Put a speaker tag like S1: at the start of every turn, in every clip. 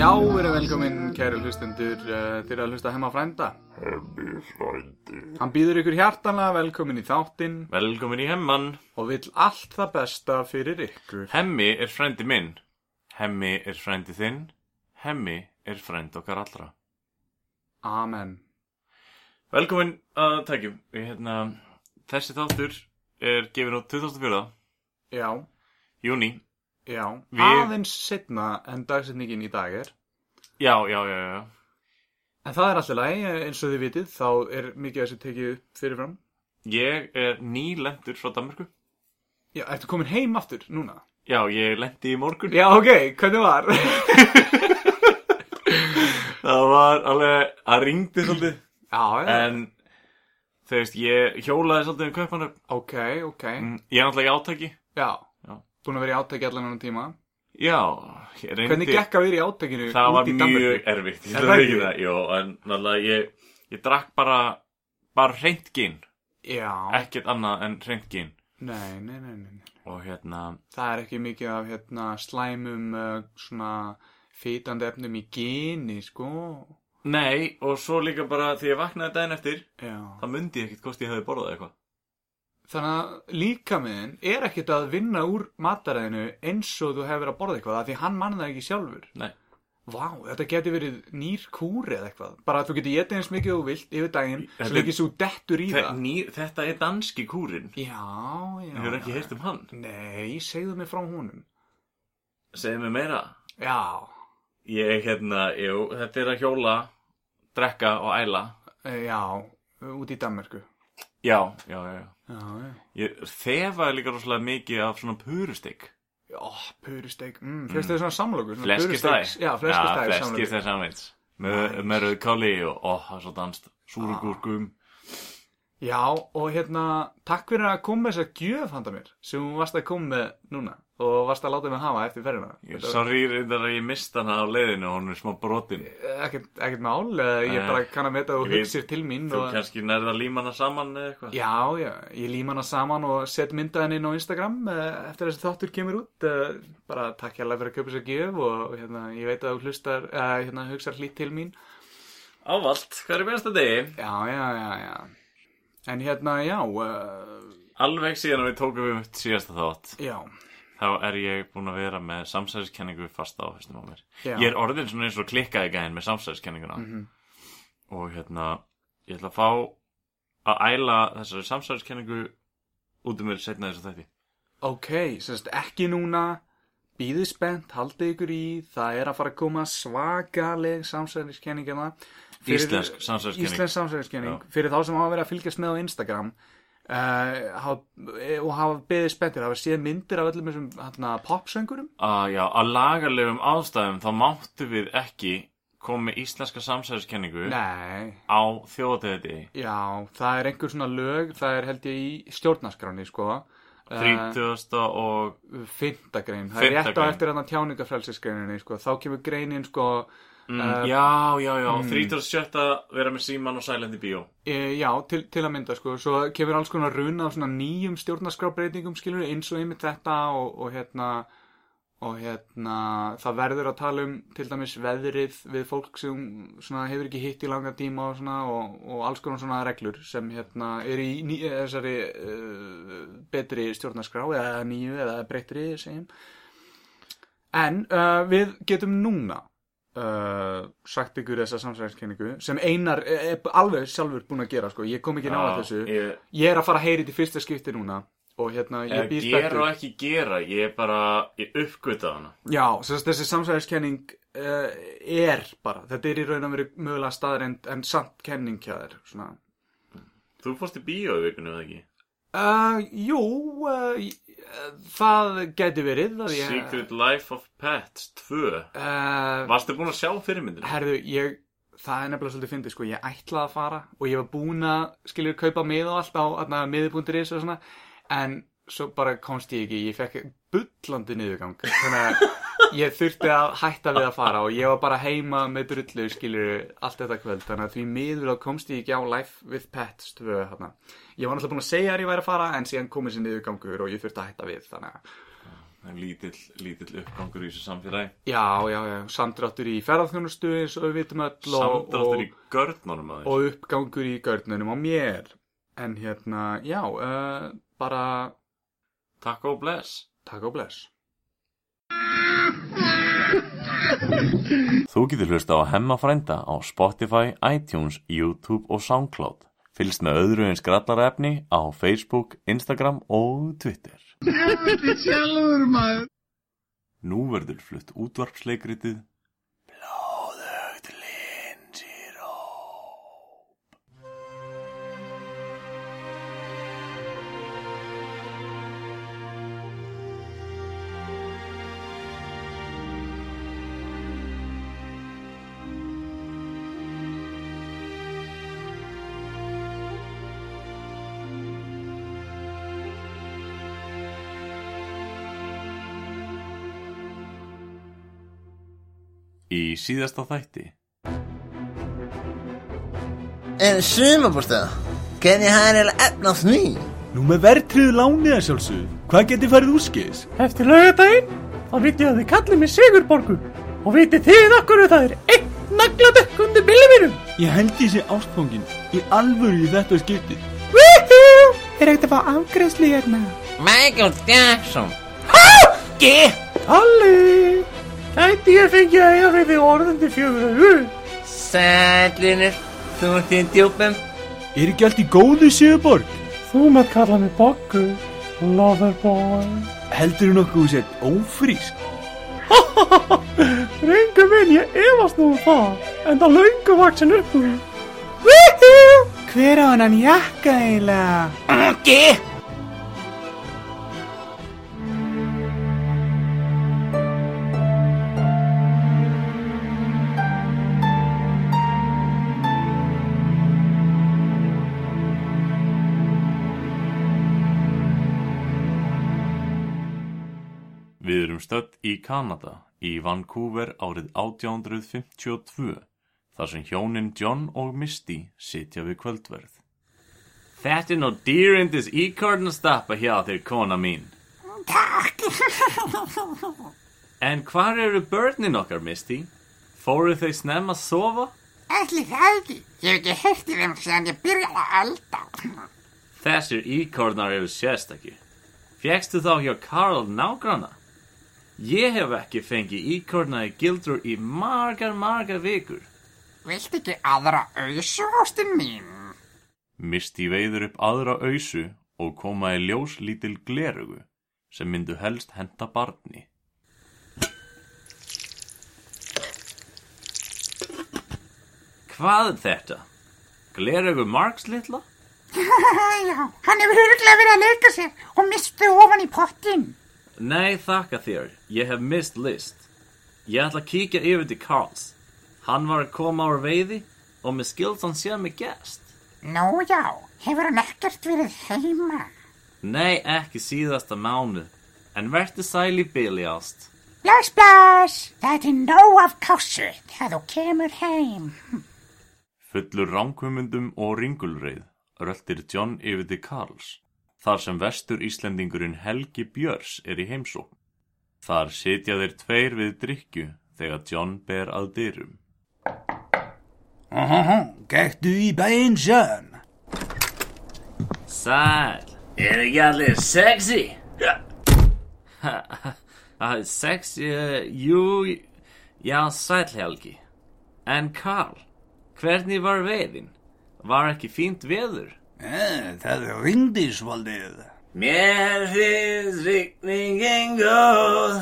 S1: Já, við erum velkomin, kæru hlustendur, uh, til að hlusta heima frænda.
S2: Hemmi frændi.
S1: Hann býður ykkur hjartanlega velkomin í þáttinn
S2: Velkomin í Hemman.
S1: og vill allt það besta fyrir ykkur.
S2: Hemmi er frændi minn. Hemmi er frændi þinn. Hemmi er frændi okkar allra.
S1: Amen.
S2: Velkomin að tækjum. Ég, Hérna, þessi þáttur er gefin út 2004.
S1: Já,
S2: Júni.
S1: já.
S2: Við-
S1: Aðeins setna en dagsetningin í dag er.
S2: Já, já, já, já.
S1: En það er alltaf lægi, eins og þið vitið, þá er mikið af þessi tekið upp fyrirfram.
S2: Ég er nýlendur frá Danmarku.
S1: Já, ertu komin heim aftur núna?
S2: Já, ég lendi í morgun.
S1: Já, ok, hvernig var?
S2: Það var alveg, það ringdi svolítið.
S1: já, já.
S2: En, þú veist, ég hjólaði svolítið um kaupanöf.
S1: Ok, ok.
S2: Ég er náttúrulega í átaki.
S1: Já.
S2: Mm. Já.
S1: Búin að vera í átæki allan ennum tíma.
S2: Já, ég reyndi...
S1: Hvernig gekk að vera í átækinu út í
S2: það var
S1: Danmörku?
S2: mjög erfitt
S1: Er
S2: ég ætla
S1: það
S2: að
S1: ekki?
S2: viðurkenna það, jú, en náttúrulega ég, ég drakk bara bara hreint gín,
S1: Já,
S2: ekkert annað en hreint gín
S1: nei, nei, nei, nei. nei.
S2: og hérna,
S1: Það er ekki mikið af hérna, slæmum uh, svona fýtandi efnum í geni, sko.
S2: nei og svo líka bara þegar ég vaknaði daginn eftir
S1: Já.
S2: það mundi ég ekkert hvort ég hefði borðað eitthvað
S1: Þannig að líkamiðin er ekkert að vinna úr mataræðinu eins og þú hefur verið að borða eitthvað af því hann mann það ekki sjálfur.
S2: Nei.
S1: Vá, þetta geti verið nýr kúri eða eitthvað. Bara að þú geti getið eins mikið og þú vilt yfir daginn
S2: Þetta
S1: svo
S2: er-
S1: ekki svo dettur í
S2: Þe,
S1: það.
S2: ný, þetta er danski kúrin
S1: Já, já.
S2: ég hefur ekki heyrt um hann
S1: Nei, segðu mig frá honum.
S2: segðu mér meira
S1: Já,
S2: ég hérna, jú, þetta er að hjóla drekka og æla
S1: eh, já, út í Danmörku.
S2: já, já, já, já.
S1: Já, já.
S2: Ég þefaði líka rosalega mikið af svona purustygg
S1: Já, purusteik, mm, fyrstu þið svona samlokur svona
S2: Fleskistæði
S1: purusteik- Já, fleskistæði samlokur
S2: Fleskistæði samvits Með, með rauðkáli og ó, það er svo danst Súrugúrkum
S1: Já, og hérna, takk fyrir að koma með þessa gjöf handa mér sem hún varst að koma með núna og varst að láta mig hafa eftir ferðina
S2: Ég er
S1: Þetta-
S2: Sorry, reyndar að ég mista hana á leiðinu og Hún er smá brotin
S1: Ekkert, ekkert mál, eh, ég
S2: Nei.
S1: bara kann að meta og
S2: Ég veit,
S1: hugsir til mín
S2: Þú
S1: og...
S2: kannski nærða líma hana saman eða eitthvað
S1: Já, já, ég lím hana saman og set myndaðin inn á Instagram eh, eftir þessi þáttur kemur út eh, bara takk hérlega fyrir að kaupa þessa gjöf og hérna, ég veit að þú hlustar eh, hérna, hugsar hlýtt til mín
S2: Ávalt, hvað er besta degi?
S1: Já, já, já, já. En hérna, já, uh,
S2: Alveg síðan að við tókum við upp síðasta þátt
S1: já,
S2: Þá er ég búin að vera með samsæðiskenningu fast á haustum á mér
S1: já. Mhm.
S2: Ég er orðin svona eins og klikkaði gæðin með samsæðiskenninguna Og hérna, ég ætla að fá að æla þessari samsæðiskenningu út um mér setna þessu þætti
S1: Ok, semst ekki núna, býðið spennt, haldið ykkur í, það er að fara að koma svakaleg samsæðiskenningina.
S2: Íslensk samsæðiskenning.
S1: Íslensk samsæðiskenning, fyrir þá sem hafa verið að fylgjast með á Instagram. Uh, hafa, og hafa beðið spenntir hafa séð myndir af öllum þessum hérna, popsöngurum
S2: að, Ah, já, að lagalegum ástæðum þá máttu við ekki koma með íslenska samsæðiskenningu
S1: nei,
S2: á þjóðatöði
S1: já, það er einhver svona lög það er held ég í stjórnaskráni sko. Eh,
S2: 30. og
S1: fymta grein, það er
S2: Fimmta
S1: rétt á
S2: grein.
S1: eftir hann að tjáningafrelsisgreininni, sko, þá kemur greinin sko,
S2: mm,
S1: eh,
S2: já, já, já, 37. vera með síman og sælend í bíó
S1: e, já, til, til að mynda sko, svo kemur alls konar runa á svona nýjum stjórnarskrábreytingum, skilur, eins og einmitt þetta og, og hérna og hérna, það verður að tala um til dæmis veðrið við fólk sem svona hefur ekki hitt í langa tíma og svona, og, og alls konar svona reglur sem hérna er í ný, þessari uh, betri stjórnarskrá eða nýju eða breytri segjum En uh, við getum núna uh, sagt ykkur þessa samsæðiskenningu sem Einar er er alveg sjálfur búinn að gera sko. Ég kom ekki nála
S2: Já,
S1: þessu. Ég...
S2: Ah, ég,
S1: er að fara að heyri til fyrsta skipti núna og hérna ég
S2: ég
S1: býð
S2: gera
S1: spenntur.
S2: og ekki gera ég er bara, ég uppgöta hana
S1: Já, sem sagt, þessi samsæðiskenning uh, er bara, þetta er í raun að vera mögulega staðarind en samt kenning hjá þér. Svona.
S2: þú fórst í bíó í vikunum eða ekki
S1: Uh, jú, uh, í- eh, það gæti verið að ég...
S2: Secret Life of Pets 2
S1: Uh,
S2: varstu búin að sjá fyrirmyndinu?
S1: Herðu, ég, það er nefnilega svolítið fyndið, sko, ég ætlaði að fara og ég var búin að, skiljur, kaupa miða og allt á miði.is og svona, en svo bara komst ég ekki, ég fekk bullandi niðurgang þannig að ég þurfti að hætta við að fara og ég var bara heima með drullu skilur allt þetta kvöld þannig að því miður að komst ég ekki á Life with Pets 2 þarna. ég var náttúrulega búin að segja að ég væri að fara en síðan komið sér niðurgangur og ég þurfti að hætta við þannig að
S2: Það er lítill, lítill uppgangur í þessu samfélagi.
S1: já, já, já, samdráttur í ferðarþjónustu eins og við vitum öll og,
S2: Samdráttur
S1: og,
S2: í görnunum að
S1: og uppgangur í görnunum á mér en hérna, já, uh, bara
S2: Takk og bless.
S1: takk og bless
S2: Þú getur hlusta á Hemma frænda á Spotify, iTunes, YouTube og Soundcloud. Fylgst með öðru en skrallarefni á Facebook, Instagram og Twitter.
S3: sjálfur maður
S2: Nú verður flutt útvarpsleikritið Blóðugt Lindsir Í síðasta þætti
S4: En sumarbústað, hvernig það er eiginlega efn á því?
S5: Nú með verðtriðu lánið að sjálfsögðu, hvað geti farið úrskis?
S6: Eftir laugardaginn þá viti ég að þið kallið mig Sigurborgu og viti þið okkur það er einn nagladökk undir bílum mínum.
S5: Ég held ég sé ástfóngin í alvöru í þetta skipti.
S6: Er ekkert að fá afgreðsli hérna?
S4: Michael Jackson
S6: Halli! Ætti ég fengið að eiga við þig orðandi fjögur.
S4: Sætlunir, þú ert í djúpum
S5: Er ekki allt í góðu Sigurborg?
S6: Þú maður kalla mig Boggu, loverboy.
S5: Heldur þú nokkuð þú sett ófrísk?
S6: Rengu minn, ég efast nú um það, en það löngu vaksin upp úr. Hver á hann jakka eiginlega?
S2: Við erum stödd í Kanada í Vancouver árið 1852 þar sem hjónin John og Misty sitja við kvöldverð Þetta er nú dýrindis íkorn að stappa hjá þér kona mín Takk En hvar eru börnin okkar Misty? Fóru þau snemma að sofa?
S7: Ætli það ekki. Ég hef ekki heyrt í þeim síðan ég byrjaði að elda.
S2: Þessir íkornar eru sérstakki. Fjekstu þá hjá Karl nágrana? Ég hef ekki fengið íkorna í gildur í margar, margar vikur.
S7: Vilt ekki aðra auðsu ástin mín?
S2: Misti veiður upp aðra ausu og koma í ljós lítil glerugu sem myndu helst henda barni. Hvað er þetta? Glerugu Marks litla?
S7: Já, hann hefur hurglega verið að leika sér og mistu ofan í pottin.
S2: Nei, þakka þér. Ég hef mist list. Ég ætla að kíkja yfir til Karls. Hann var að koma á veiði og með skilt hann sé með gest.
S7: Nú já, hefur hann ekkert verið heima.
S2: Nei, ekki síðasta mánu. En verði sæl í bili ást.
S7: Bless, bless. Það er til nóg af kásu þegar þú kemur heim.
S2: Fullur ránkvömmundum og ringulreið röltir John yfir til Karls. Þar sem vestur Íslendingurinn Helgi Björs er í heimsókn. Þar sitja þeir tveir við drykju þegar John ber að dyrum.
S5: Gættu í bæinn sjön.
S2: Sæl Er ekki allir sexy? Ha, sexy, eh, jú Já, sæl Helgi En Karl, hvernig var veiðin? Var ekki fínt veður?
S5: Það ringdi svaldið.
S2: Mér finnst rigningin góð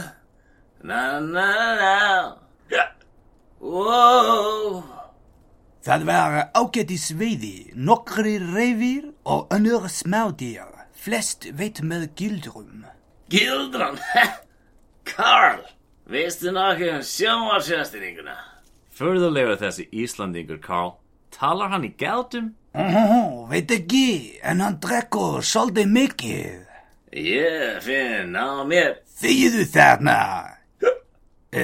S2: Na na na Wow
S5: Það var ágætt í sveiði, nokkri reyfir og önnur smádýr. Flest veit með gildrum.
S2: Gildran Karl Veistu nokkuð um sjónvarsjöstininguna? Furðulegur þessi Íslandingur Karl Talar hann í gældum?
S5: Ó, veit ekki, en hann drekkur svolítið mikið.
S8: Ég finn á mér
S5: Þegiðu þarna! nou?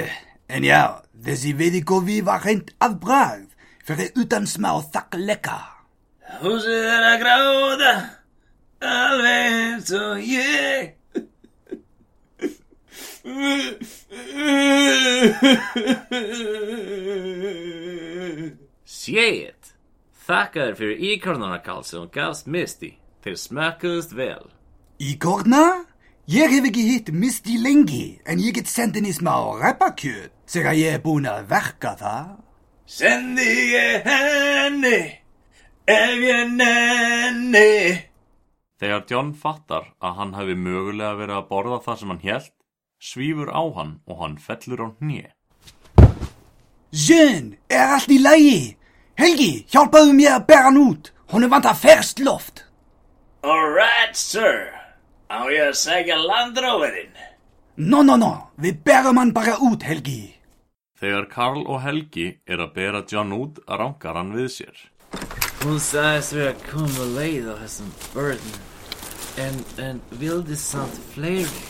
S5: Eh, En dus já, þessi veiðikofi var hreint afbragð fyrir utan smá þakkleika.
S8: Húsið er að gráða Alveg eins og ég Shit Þakkaður fyrir íkornana Karl sem gafst misti Þeir smakkuðust vel
S5: Íkorna? Ég hef ekki hitt Misty lengi, en ég get sendið henni smá reppakjöt þegar ég er búin að verka það.
S8: Sendi ég henni Ef ég nenni
S2: Þegar John fattar að hann hefði mögulega verið að borða það sem hann hélt, svífur á hann og hann fellur á hnið.
S5: Jön, er allt í lagi? Helgi, hjálpaðu mér að bera hann út. Hún er vant að ferst loft.
S8: Alright, sir. Á ég að segja landróverinn.
S5: No, no, no, við berum hann bara út, Helgi.
S2: Þegar Karl og Helgi er að bera John út, rangar hann við sér.
S8: Hún sagðist við að koma leið á þessum börnum. En, en vildi samt fleiri.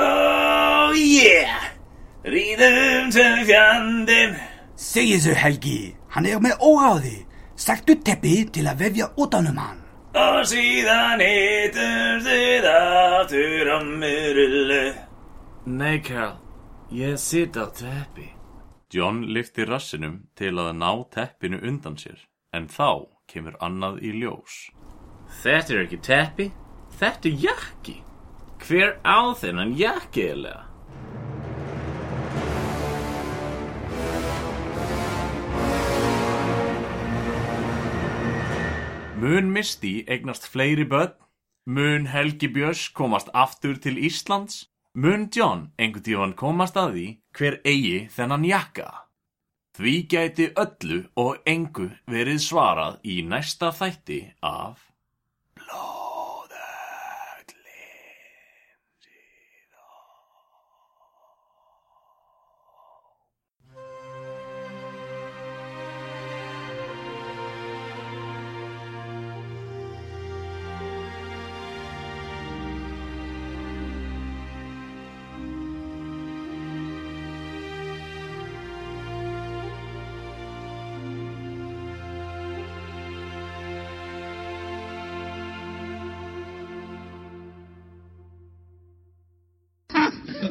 S8: Oh yeah! Ríðum sem fjandinn.
S5: Segið þau, Helgi, hann er með óráði. Sættu teppi til að vefja utan um hann.
S8: Og síðan hittum þið aftur á myrlu. Nei, Karl. Ég sitt á teppi.
S2: John lyfti rassinum til að ná teppinu undan sér, en þá kemur annað í ljós.
S8: Þetta er ekki teppi. Þetta er jakki. Hver á þennan jakki, eða?
S2: Mun Misti eignast fleiri börn? Mun Helgi Björns komast aftur til Íslands? Mun John einhvern tífan komast að því hver eigi þennan jakka? Því gæti öllu og engu verið svarað í næsta þætti af Blóðöglin síðan.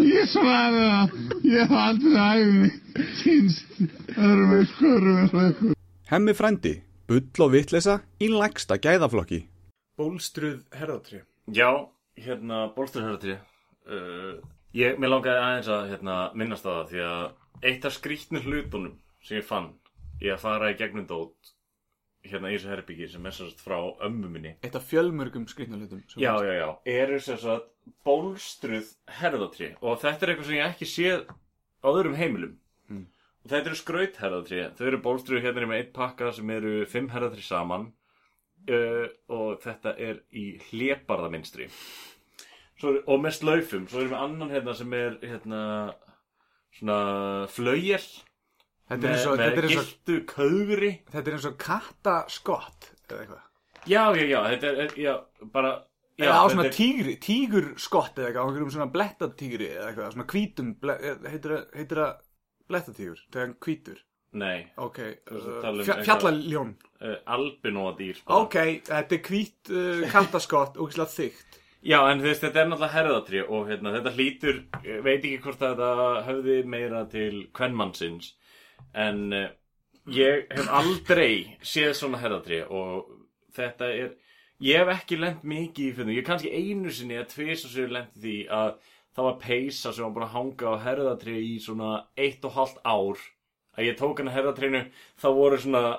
S3: Ég svara það. Ég hef aldrei æfni týnst öðrum eins hverjum eins og ykkur.
S9: Hemmi frændi, bull og vitleysa í lægsta gæðaflokki.
S1: Bólstruð herðatré.
S2: Já, hérna, bólsturhörðatri uh, Ég, mér langaði aðeins að hérna, minnast á það því að eitt af skrýtnu hlutunum sem ég fann ég að fara í gegnum dót hérna í þessu herbyggi sem er sérst frá ömmu minni
S1: Eitt af fjölmörgum skrýtnalutum.
S2: Já, já, já, eru sérst bólstruð herðatri og þetta er eitthvað sem ég ekki séð á öðrum heimilum og þetta eru skraut herðatri þau eru bólstruð hérna með einn pakka sem eru fimm herðatri saman uh, og þetta er í hlébarðaminstri svo, er- og með slaufum svo erum við annan hérna sem er hérna svona flögjel
S1: Þetta er
S2: með,
S1: eins og,
S2: með
S1: þetta er eins og,
S2: giltu köðri
S1: þetta er eins og kattaskott eða eitthvað.
S2: já, já, já, þetta er já, bara já,
S1: Já, á
S2: þetta
S1: svona
S2: er-
S1: tígri, tígurskott eða eitthvað, á einhverjum svona blettatígri eða eitthvað, svona hvítum, ble, eh, heitir það- heitir það blettatígur, þegar hann hvítur,
S2: nei,
S1: ok,
S2: Þú ert
S1: uh,
S2: að tala um
S1: fja,
S2: eitthvað-
S1: fjallaljón,
S2: uh, albinóa dýr
S1: ok, þetta er hvít uh, kattaskott, ógislega þygt,
S2: Já, en þú veist, þetta er náttúrulega herðatrí og hérna, þetta hlýtur, ég veit ekki hvort að þetta höfði meira til kvennmannsins, en uh, ég hef aldrei séð svona herðatrí og þetta er, ég hef ekki lent mikið í fundum, ég hef kannski einu sinni að tvis og sér lent í því að það var peysa sem var búin að hanga á herðatrí í svona eitt og hálft ár, að ég tók hann að herðatrínu, þá voru svona,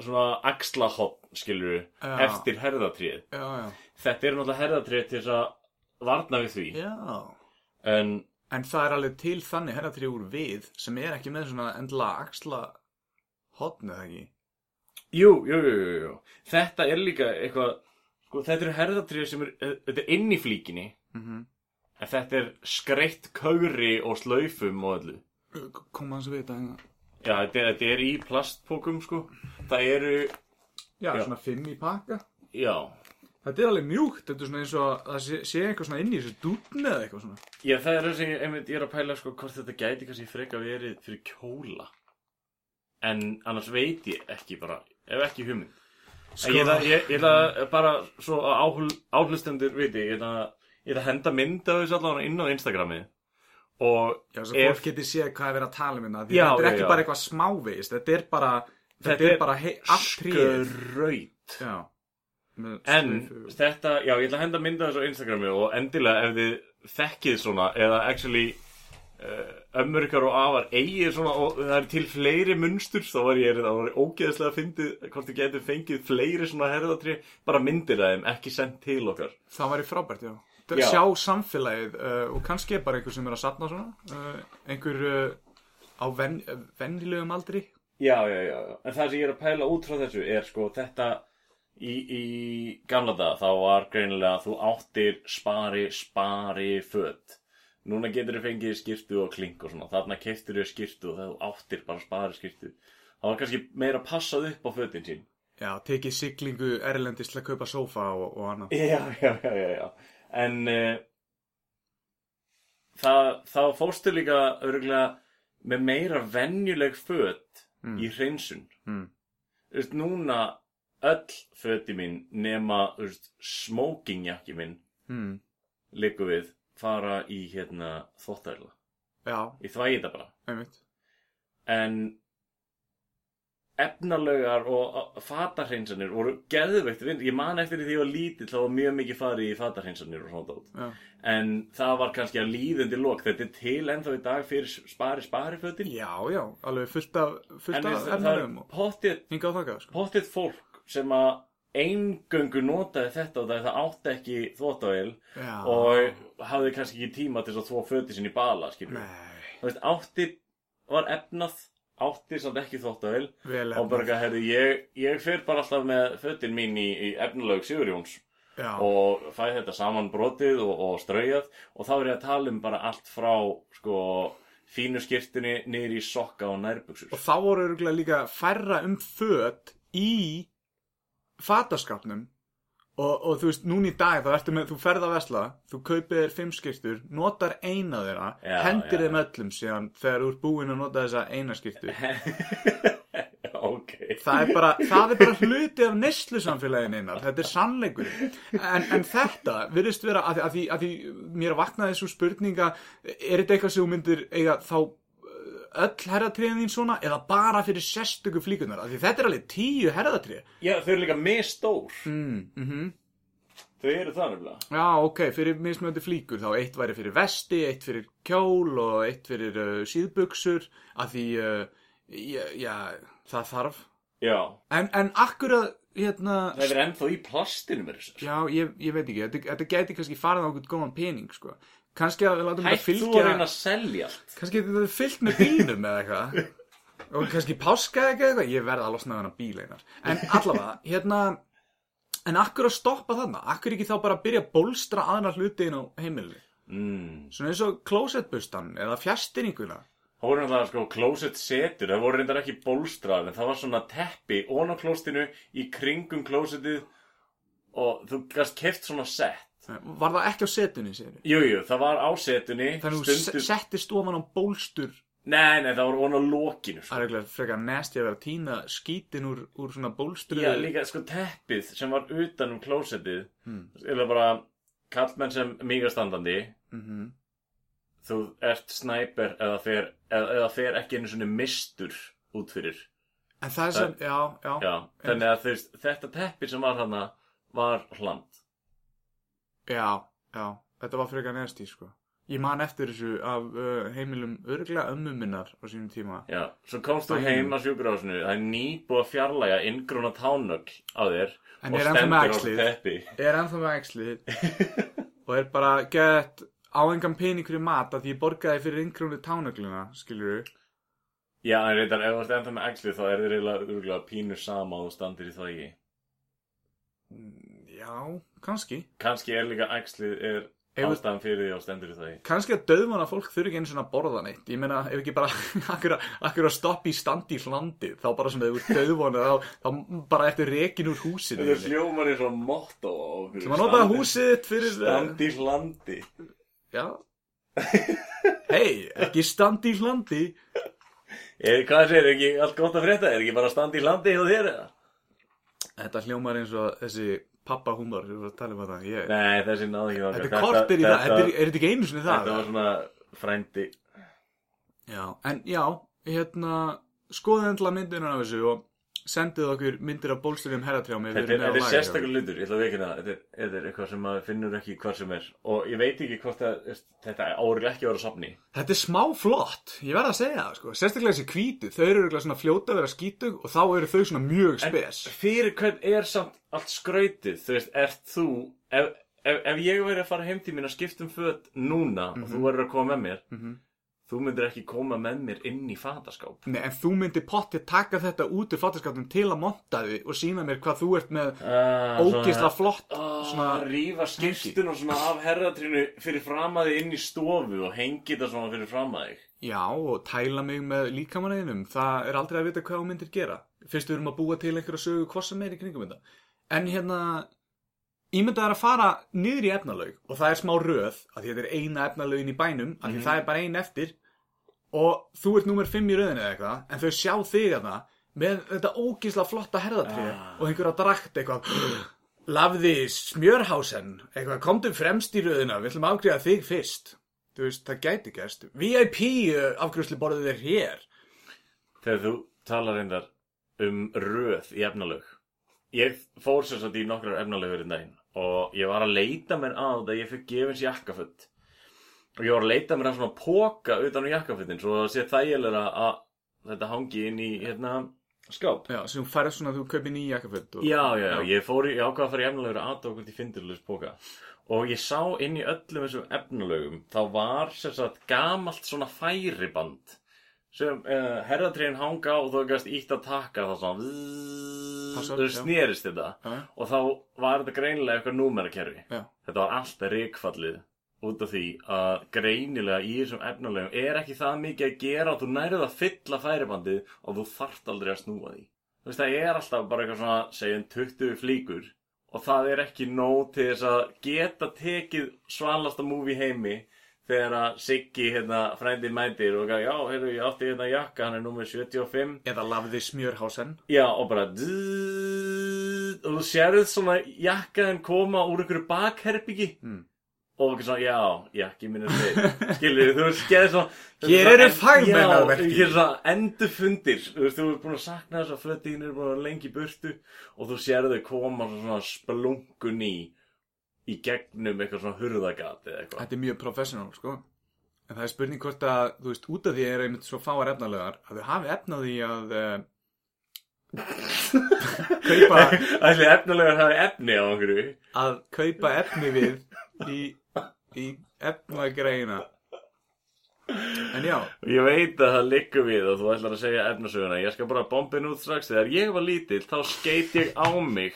S2: svona axlahotn, skilur við,
S1: Já.
S2: eftir herðatríð
S1: já, já,
S2: þetta eru náttúrulega herðatrið til þess að varna við því
S1: já,
S2: en
S1: en það er alveg til þannig herratrí úr við sem er ekki með svona endla axla hotn eða ekki,
S2: jú, jú, jú, jú, jú. þetta er líka eitthvað sko, þetta eru herðatrið sem er, eh, þetta er inn í flíkinni
S1: Mhm.
S2: en þetta er skreitt kauri og slaufum og öllu
S1: koma hans að vita hérna,
S2: já, þetta, er- þetta er í plastpókum sko það eru,
S1: já,
S2: Já.
S1: svona fimm í pakka,
S2: já
S1: Þetta er alveg mjúkt, þetta er svona eins og að það sé, sé eitthvað svona inn í þessu dúnni eða eitthvað svona.
S2: Já, það er það sem ég, einmitt, ég er að pæla sko hvort þetta gæti kannski freka verið fyrir kjóla. En annars veit ég ekki bara, ef ekki hugmynd. Sko... Ég ætla, ég, ég ætla bara svo að áhul, áhlustendur viti, ég ætla, ég ætla að henda mynd af þessu allavega inn á Instagrami. Og
S1: Já, þess að
S2: Ef-
S1: fólk geti séð hvað er verið að tala um hérna. Því þetta
S2: Já,
S1: er
S2: já,
S1: ekki
S2: já.
S1: bara eitthvað smávegist, þetta er bara, þetta, er, bara hei, allt tríð.
S2: skraut.
S1: Já. Með
S2: En
S1: skraufu.
S2: þetta, já, ég ætla að henda mynda þessu á Instagrami og endilega ef þið þekkið svona eða actually uh, ömmur ykkar og afar eigið svona og það er til fleiri munstur þá var ég, það var ógeðslega að fyndið hvort þið getur fengið fleiri svona herðatri bara myndir af þeim, ekki sendt til okkar
S1: það væri frábært, já. D-
S2: Já.
S1: Sjá samfélagið uh, og kannski er bara einhver sem er að sapna svona, uh, einhver uh, á ven, vennilegum aldri.
S2: Já, já, já, já. en það sem ég er að pæla út frá þessu er sko þetta í, í gamla dag þá var greinilega að þú áttir spari, spari föt. Núna getur þau fengið skirtu og klink og svona, þarna keftir þau skirtu og það þú áttir bara spari skirtu. Það var kannski meira passað upp á fötin sín.
S1: Já, tekið siglingu erlendis til að kaupa sófa og, og annað.
S2: Já, já, já, já, já. En uh, það, þá fórstu líka örgulega með meira venjuleg föt í hreinsun.
S1: Mm.
S2: Þú veist, núna öll föti mín nema þú veist, smokingjakki minn
S1: Mm.
S2: liggur við fara í hérna þvóttæla.
S1: Já,
S2: Ég þvægi þetta bara.
S1: einmitt.
S2: En efnalögar og fatarhreinsanir voru geðveikt vinn. Ég man eftir því þegar ég var lítill þá var mjög mikið farið í fatarhreinsanir og svona dót.
S1: Já.
S2: En það var kannski að líðandi lok. Þetta er til ennþá í dag fyrir spari spari fötin.
S1: Já, já, alveg fullt af, fullt
S2: en
S1: af
S2: það, það er
S1: erlendum og
S2: pottið
S1: hingað og þakað, sko.
S2: pottið fólk sem að eingöngu notaði þetta og það, það átti ekki þvóttavél
S1: Já.
S2: og hafði kannski ekki tíma til þess að þvó föti sinni í bala, skiljum við.
S1: Nei,
S2: Þú veist, átti, var efnað, átti samt ekki þvóttavél
S1: vel
S2: og bara
S1: efnað.
S2: eitthvað, herri, ég, ég fer bara alltaf með fötin mín í, í efnalaug Sigurjóns
S1: Já,
S2: og fæ þetta saman brotið og, og straujað og þá er ég að tala um bara allt frá, sko, fínu skirtinni niður í sokka og nærbuksur.
S1: og þá voru örgulega líka færra um föt í fataskapnum og, og þú veist, núna í dag þá ertu með, þú ferð að vesla, þú kaupir þér fimm skiptur, notar eina þeirra,
S2: Já,
S1: hendir
S2: já.
S1: þeim öllum síðan þegar þú ert búinn að nota þessa eina skiptu.
S2: ok.
S1: Það er bara, það er bara hluti af neyslusamfélagin einar, þetta er sannleikur. En, en þetta virðist vera að, að, því, að því mér vaknaði svo spurninga, er þetta eitthvað sem þú myndir eiga þá uh, öll herðatriðin þín svona eða bara fyrir sérstöku flíkunar? Af því þetta er alveg tíu herðatrið.
S2: Já, þau eru líka misstór.
S1: Mm, mm
S2: Þau eru það nefnilega.
S1: Já, ok, fyrir mismjöndi flíkur þá eitt væri fyrir vesti, eitt fyrir kjól og eitt fyrir uh, síðbuksur að því, uh, já, já, það þarf.
S2: Já.
S1: En, en akkur að, hérna...
S2: Það er ennþá í plastinu mér þess
S1: Já, ég, ég veit ekki, þetta, þetta gæti kannski farið á einhvern góðan pening, sko. Kannski að við látum
S2: Hætt
S1: þetta
S2: þú að
S1: fylgja,
S2: reyna að selja allt.
S1: kannski þetta er fyllt með bílnum eða eitthvað. Og kannski páska eða eitthvað, ég verða að losna við hana bíl einar. En allavega, hérna, en akkur að stoppa þarna? Akkur ekki þá bara að byrja að bólstra aðra hluti inn á heimilinu?
S2: Mm.
S1: Svona eins og klósettbustan eða fjastýringuna.
S2: Það voru náttúrulega sko closet setur, það voru reyndar ekki bólstrað, en það var svona teppi ón á klóstinu í kringum klósetið og þú gæst keft svona sett.
S1: Var það ekki á setunni, segir við?
S2: Jú, jú, það var á setunni,
S1: Þannig að þú
S2: stundu...
S1: se- settist ofan á bólstur
S2: Nei, nei, það voru ón á lokinu,
S1: Það
S2: sko.
S1: er eitthvað frekar nesti að vera að týna skítin úr, úr svona bólstru
S2: Já, líka sko teppið sem var utan um klósetið, eða bara kallmenn sem mígastandandi,
S1: Mhm.
S2: þú ert snæper eða fer, eða, eða fer ekki einu svona mistur út fyrir.
S1: En það er sem, já, já, já,
S2: Já, þannig að þeir, þetta teppi sem var hana var hland.
S1: já, þetta var frekar neðst í, sko. Ég man eftir þessu af uh, heimilum örglega ömmu minnar á sínum tíma.
S2: Já, svo komst þú heim að sjúkurásinu, það er nýbúið að fjarlæga inngrúna tánögl á þér
S1: En
S2: og
S1: er ennþá með
S2: stendur á
S1: æxlið.
S2: teppi.
S1: Er ennþá með æxlið og er bara gett á engan peningur í mat að því ég borgaði fyrir inngrúnu tánögluna, skilur við.
S2: Já, en reyndar, ef þú ert ennþá með æxlið þá er þið reyðlega örgulega pínu sama og þú standir í þvægi.
S1: Já, kannski.
S2: Kanski er líka æxlið er
S1: Ef-
S2: Ástæðan fyrir því að stendur í það í.
S1: kannski að döðmanna fólk þurfi ekki einu svona að borða neitt ég meina, ef ekki bara akkur að, akkur að stoppa í standi í hlandi þá bara sem þau eru döðmanna þá, þá bara eftir rekin úr húsinu
S2: Þetta hljómar eins og motto á okkur.
S1: sem að nota húsið þitt fyrir
S2: Stand í hlandi.
S1: já hei, ekki standi í hlandi
S2: Er, hvað segir, er ekki allt gott að frétta? Er ekki bara stand í hlandi hjá þér eða?
S1: þetta hljómar eins og þessi pappahúmar sem við vorum að tala um þetta ég...
S2: Nei, þessi náðu ekki þangað.
S1: þetta er kortir í það, þetta er, er þetta ekki einu sinni það
S2: Þetta var svona frændi.
S1: Já, en já, hérna skoðið endla myndina af þessu og sendið okkur myndir af bólstunum herratrjámi
S2: Þetta er, þetta er sérstakur hlutur, ég ætla að veikina það. Þetta er, þetta er eitthvað sem maður finnur ekki hvar sem er. Og ég veit ekki hvort að, veist, þetta árið ekki að vera á safni.
S1: Þetta er smá flott, ég verð að segja það sko sérstaklega þessi hvítu, þau eru örugglega svona fljóta að vera skítug og þá eru þau svona mjög spes
S2: En fyrir hvern er samt allt skrautið? Þú veist, ert þú, ef, ef, ef ég væri að fara heim til mín að skipta um föt núna og þú verður að koma með mér,
S1: Mhm.
S2: þú myndir ekki koma með mér inn í fataskáp.
S1: Nei, en þú myndir pottið taka þetta út úr fattaskapnum til að monta því og sína mér hvað þú ert með
S2: Ah,
S1: ógisla flott
S2: svona
S1: svona,
S2: Ah, rífa skiptun og svona af herratrínu fyrir framaði inn í stofu og hengi þetta svona fyrir framaði
S1: já, og tæla mig með líkamanæðinum það er aldrei að vita hvað þú myndir gera fyrst við erum að búa til einhverja sögu hvað sem er í kringum þetta en hérna Ímyndað er að fara niður í efnalaug og það er smá röð að því þetta er eina efnalaugin í bænum að því
S2: Mhm.
S1: það er bara ein eftir og þú ert númer 5 í röðinu eða eitthvað en þau sjá þig að það með þetta ógísla flotta herðatrið og einhverja drakt eitthvað lafði smjörhásen eitthvað komdu fremst í röðina við ætlum að afgriða þig fyrst þú veist það gæti gæst VIP afgriðsli borðið eh, er hér
S2: þegar þú talar reyndar um röð í efnalög ég fór sem sagt í nokkrar efnalögur í daginn og ég var að leita mér að það ég fyrir gefins jakkafutt og ég var að leita mér að svona póka utan á jakkafuttin svo það sé þægilega að þetta hangi inn í hérna skáp
S1: já, sem þú færð svona að þú kaupir nýja jakkaföld og...
S2: Já, já, já, ég fór í, ég ákvað að fara í efnalögur aðdóð hvort ég fyndir laus póka og ég sá inn í öllum þessum efnalögum þá var sem sagt gamalt svona færiband sem uh, herratríðin hanga á og þú gæst ítt að taka þá svona
S1: Passar,
S2: þau
S1: já.
S2: snerist þetta
S1: Já.
S2: og þá var þetta greinilega eitthvað númerakerfi
S1: Já.
S2: þetta var alltaf reikfallið út af því að greinilega í þessum efnalögum er ekki það mikið að gera og þú nærið að fylla færibandið og þú þarft aldrei að snúa því þú veist það er alltaf bara eitthvað svona segjum 20 flíkur og það er ekki nóg til þess að geta tekið svalasta múvi heimi þegar að Siggi hérna frændi mætir og gaf, já, heyrðu, ég átti hérna jakka, hann er númer 75
S1: eða lafði smjörhásen
S2: já, og bara dzz, og þú sérð svona jakkaðin koma úr einhverju bakherbyggi
S1: Mm.
S2: og ekki svona, já, jakki minn er þeir skilur, þú veist, skerði svona
S1: Hér eru fagmenn að verki.
S2: já, hér er svona endufundir þú veist, þú er búin að sakna þess að flöttin er búin að vera lengi í burtu og þú sérð þau koma svona splungun í í gegnum eitthvað svona hurðagat eða eitthvað
S1: þetta er mjög professional sko en það er spurning hvort að þú veist út af því er einmitt svo fáar efnalegar að þau hafi efnað því að uh, kaupa
S2: Ætli efnilega að hafa efni á einhverju
S1: að kaupa efni við í, í efnagreina en já
S2: Ég veit að það liggur við og þú ætlar að segja efnasöguna. Ég skal bara bombin út strax. Þegar ég var lítill, þá skeit ég á mig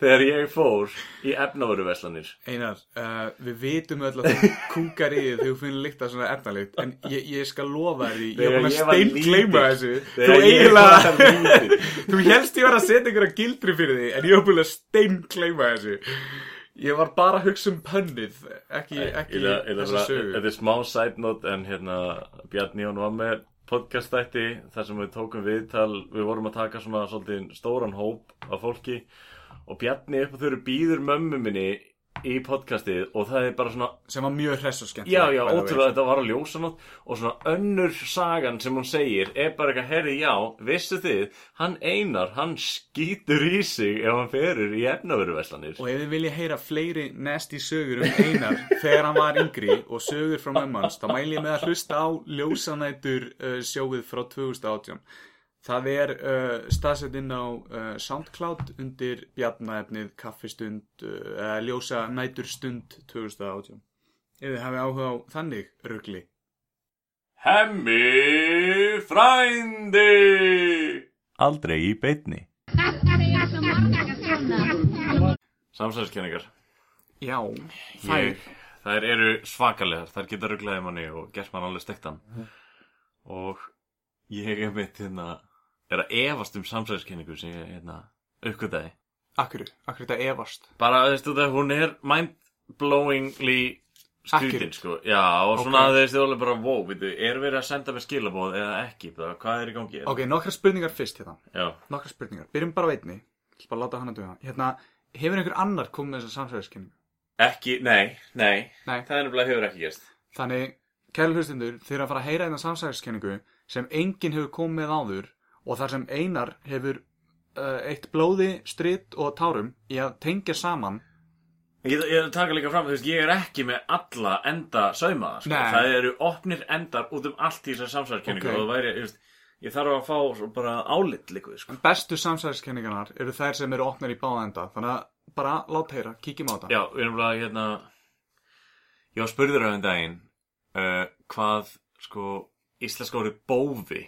S2: þegar ég fór í efnavöruverslanir.
S1: Einar, uh, við vitum öll að þú kúkar í því þegar þú finnir líkt að svona efnalikt en ég, ég skal lofa þér því, ég er
S2: Þegar
S1: búin að
S2: ég var
S1: stein gleyma
S2: lítill.
S1: þessu þú
S2: Þegar ég
S1: eiginlega
S2: var lítill.
S1: þú helst ég var að setja einhverja gildri fyrir því en ég var búin að stein gleyma þessu ég var bara að hugsa um pönnið ekki, ekki
S2: Eða- eða
S1: þessa
S2: bara-
S1: sögu
S2: Þetta er smá side note en hérna Bjarni Jón var með podcastætti þar sem við tókum viðtal við vorum að taka svona svolítið stóran hóp af fólki og Bjarni upp á þau býður mömmu minni í podcastið og það er bara svona
S1: sem var mjög hress og skemmt
S2: Já, já, ótrúlega þetta var að ljósa nótt og svona önnur sagan sem hún segir er bara eitthvað, herri, já, vissu þið hann einar, hann skýtur í sig ef hann ferur í efnaveruverslanir
S1: Og ef þið vilja heyra fleiri nasty sögur um Einar þegar hann var yngri og sögur frá mömmans, þá mæl ég með að hlusta á Ljósanætur uh, sjóið frá 2018. Það er uh, staðsett inn á uh, SoundCloud undir bjarnaefnið kaffistund, uh, ljósanæturstund 2018. Ef þið hafið áhuga á þannig rugli.
S2: Hemmi frændi Aldrei í beitni Samsæðiskenningar
S1: Já,
S2: Ég, Þær eru svakalegar, þær geta rugglaði manni og gert mann alveg stektan.
S1: Mhm.
S2: Og ég er mitt hérna, er að efast um samsæðiskenningu sem ég hérna, uppgötaði.
S1: Akkur, akkur þetta efast
S2: Bara, þú veist, þetta, hún er mind-blowingly skrítin,
S1: Accurate.
S2: sko. Já, og
S1: Ok.
S2: svona, þú veist, þú alveg bara, wow, veitu, er verið að senda með skilabóð eða ekki, bara, hvað er í gangi?
S1: Ok, nokkra spurningar fyrst hérna
S2: Já,
S1: Nokkra spurningar, byrjum bara á einni Ég ætla bara að láta hana duga Hérna, hefur einhver annar komið með þessa samsæðiskenningu?
S2: ekki, nei, nei,
S1: Nei.
S2: það er nefnilega hefur ekki gerst.
S1: Þannig, kæru hlustindur, þeir eru að fara að heyra einna samsæðiskenningu sem enginn hefur komið með áður og þar sem einar hefur uh, eitt blóði, stritt og tárum í að tengja saman
S2: Ég, ég taka líka fram, þú veist, ég er ekki með alla enda saumaða, sko.
S1: Nei.
S2: Það eru opnir endar út um allt í þessar samsæðiskenningu
S1: Ok.
S2: og það væri, þú veist, ég þarf að fá svo bara álit líkuð, sko.
S1: Bestu samsæðiskenningarnar eru þær sem eru opnar í báða enda Þannig að bara lát heyra, kíkjum á þetta
S2: Já, við erum bara, hérna, ég var spurður á þeim daginn uh, hvað, sko, íslenska orðið bófi,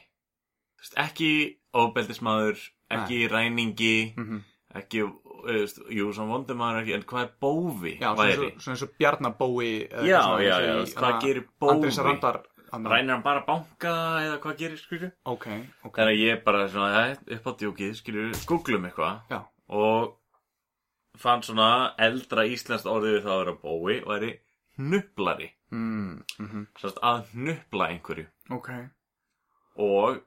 S2: þú veist, ekki óbeldismadur, ekki ræningi,
S1: Mhm.
S2: ekki, uh, þú veist, jú, sem vondumadur ekki, en hvað er bófi
S1: Já, svona
S2: væri?
S1: eins og- svona eins og Bjarnabói eða
S2: Já,
S1: eitthvað svona
S2: já,
S1: eins og í,
S2: já, þú veist, hvað
S1: hana,
S2: gerir bófi?
S1: Andrés Randar hana-
S2: Rænir hann bara banka eða hvað gerir, skilju?
S1: Ok, ok
S2: Þannig að ég bara svona, eh, upp á djúkið, skilur, googlum eitthvað
S1: Já,
S2: og fann svona eldra íslenskt orðið við það að vera bói og eri hnuplari.
S1: mm, mm
S2: Sérst að hnupla einhverju.
S1: ok
S2: Og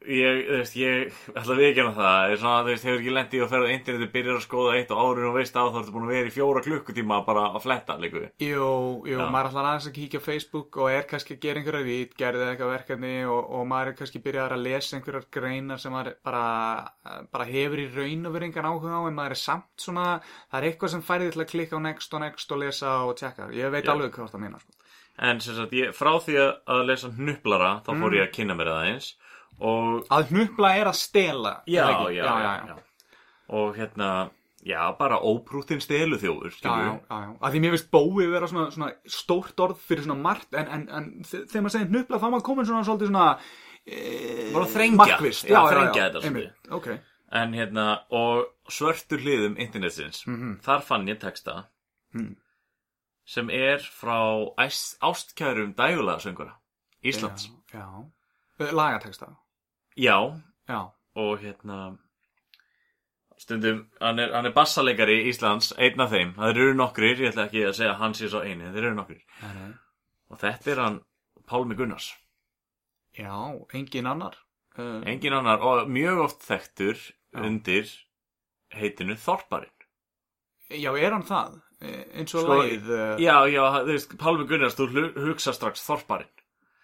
S2: ég, þú veist, ég ætla að viðkjanna það. Það er svona, þú veist, hefur ekki lent í að ferða internetið, byrjar að skoða eitt og árið og veist að þú ertu búin að vera í fjóra klukkutíma bara að fletta líku.
S1: Jú, jú,
S2: Já.
S1: maður ætlar aðeins að kíkja á Facebook og er kannski að gera einhverja vítgerð eða eitthvað verkefni og, og maður er kannski byrjar að lesa einhverjar greinar sem maður bara, bara hefur í raun og verið engan áhuga á en maður er samt svona, það er eitthvað sem færði til að klikka á next og next og lesa og tjekka. Ég veit
S2: Já.
S1: alveg hvað það meina, sko.
S2: En sem sagt, ég, frá því að- að lesa hnuplara, þá fór ég að kynna mér það eins og
S1: Að hnupla er að stela.
S2: já,
S1: er það ekki?
S2: já, já, já, og hérna já, bara óprúttinn stelu þjófur
S1: Já, já, já, já. Að því mér finnst bói vera svona, svona stórt orð fyrir svona margt en, en, en þe- þegar maður segir hnupla þá er maður komin svona svolítið svona e,
S2: Bara að þrengja.
S1: markvisst.
S2: Já, þrengja þetta
S1: einmitt. Ok,
S2: en hérna, og svörtur hliðum internetsins, þar fann ég texta Hmm. sem er frá æst, ástkærum dægulagasöngura Íslands
S1: Já, já. Eh, Lagatexta
S2: já,
S1: Já,
S2: og hérna stundum, hann er, hann er bassaleikari Íslands, einn af þeim það eru nokkrir, ég ætla ekki að segja að hann sé svo eini þeir eru nokkrir og þetta er hann Pálmi Gunnars
S1: já, engin annar uh,
S2: Engin annar og mjög oft þekktur undir heitinu Þorparinn.
S1: Já, er hann það? Eh, Eins og
S2: Sko,
S1: lagið uh,
S2: Já, já, þú veist, Pálmi Gunnars, þú hlu- hugsa strax Þorparinn.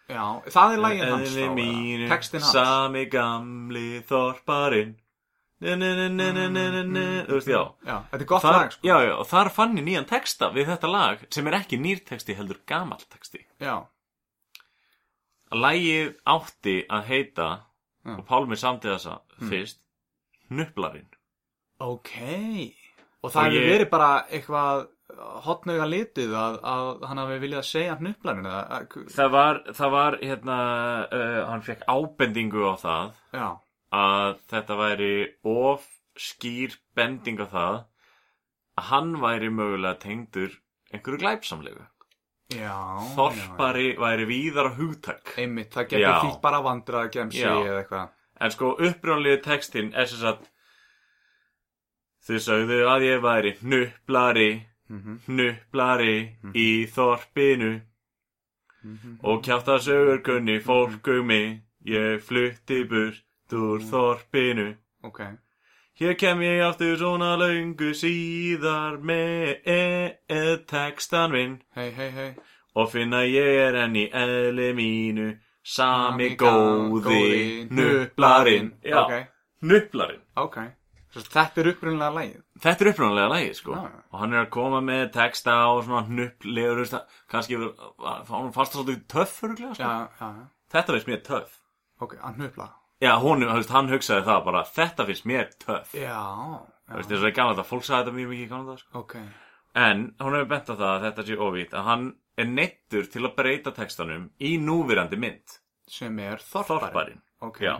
S1: Já, það er lagið hans þá,
S2: Eðli
S1: eða?
S2: mínu,
S1: Textin hans
S2: Sami gamli Þorparinn. Ne, ne, ne, ne, ne, ne, ne, ne.
S1: Mm,
S2: Þú veist, já.
S1: Já, þetta er gott
S2: Þar,
S1: lag sko.
S2: Já, já, og þar fann ég nýjan texta við þetta lag sem er ekki nýr texti heldur gamall texti.
S1: já,
S2: Lægið átti að heita,
S1: Já. Mm.
S2: og Pálmi samti þessa fyrst, Hnuplarinn.
S1: ok Og það
S2: Og
S1: hefur
S2: ég-
S1: verið bara eitthvað hotnauga litið að, að hann hafi viljað segja hnuplarinn eða, að,
S2: Það var, það var hérna, uh, hann fekk ábendingu á það
S1: Já,
S2: að þetta væri of skýr bending á það að hann væri mögulega tengdur einhverju glæpsamlegu.
S1: já
S2: Þorpari væri víðara hugtak.
S1: já. Einmitt, það getur
S2: Já.
S1: þýtt bara vandra gemsi
S2: Já.
S1: eða eitthvað
S2: En sko upprjónlegu textin er sem sagt Þið sögðu að ég væri hnuplari,
S1: Mhm,
S2: hnuplari í þorpinu Og kjáta sögur kunni fólk um mig Ég flutti burt úr þorpinu
S1: Ok,
S2: Hér kem ég aftur svona löngu síðar með textan minn
S1: hei, hei, hei
S2: Og finna ég er enn í eðli mínu
S1: Sami
S2: Sami góði hnuplarinn Já,
S1: Ok,
S2: hnuplarinn
S1: ok Svo Þetta er upprunnilega lagið
S2: Þetta er upprunalega lagi, sko.
S1: Já, já.
S2: Og hann er að koma með texta og svona hnupplegur, veist það, kannski var hann fast svolítið töff, örgulega, sko.
S1: Já, já, já
S2: Þetta finnst mér töff.
S1: Ok, að hnupla
S2: Já, hún, veist, hann hugsaði það bara, þetta finnst mér töff.
S1: Já,
S2: Þú
S1: já,
S2: veist, þess að ég gana þetta, fólk sagði þetta mjög mikið í gana þetta, sko.
S1: ok
S2: En hún hefur bent á það að þetta sé ofít að hann er neittur til að breyta textanum í núverandi mynd.
S1: Sem er þorparinn
S2: Þorparinn.
S1: Ok,
S2: Já.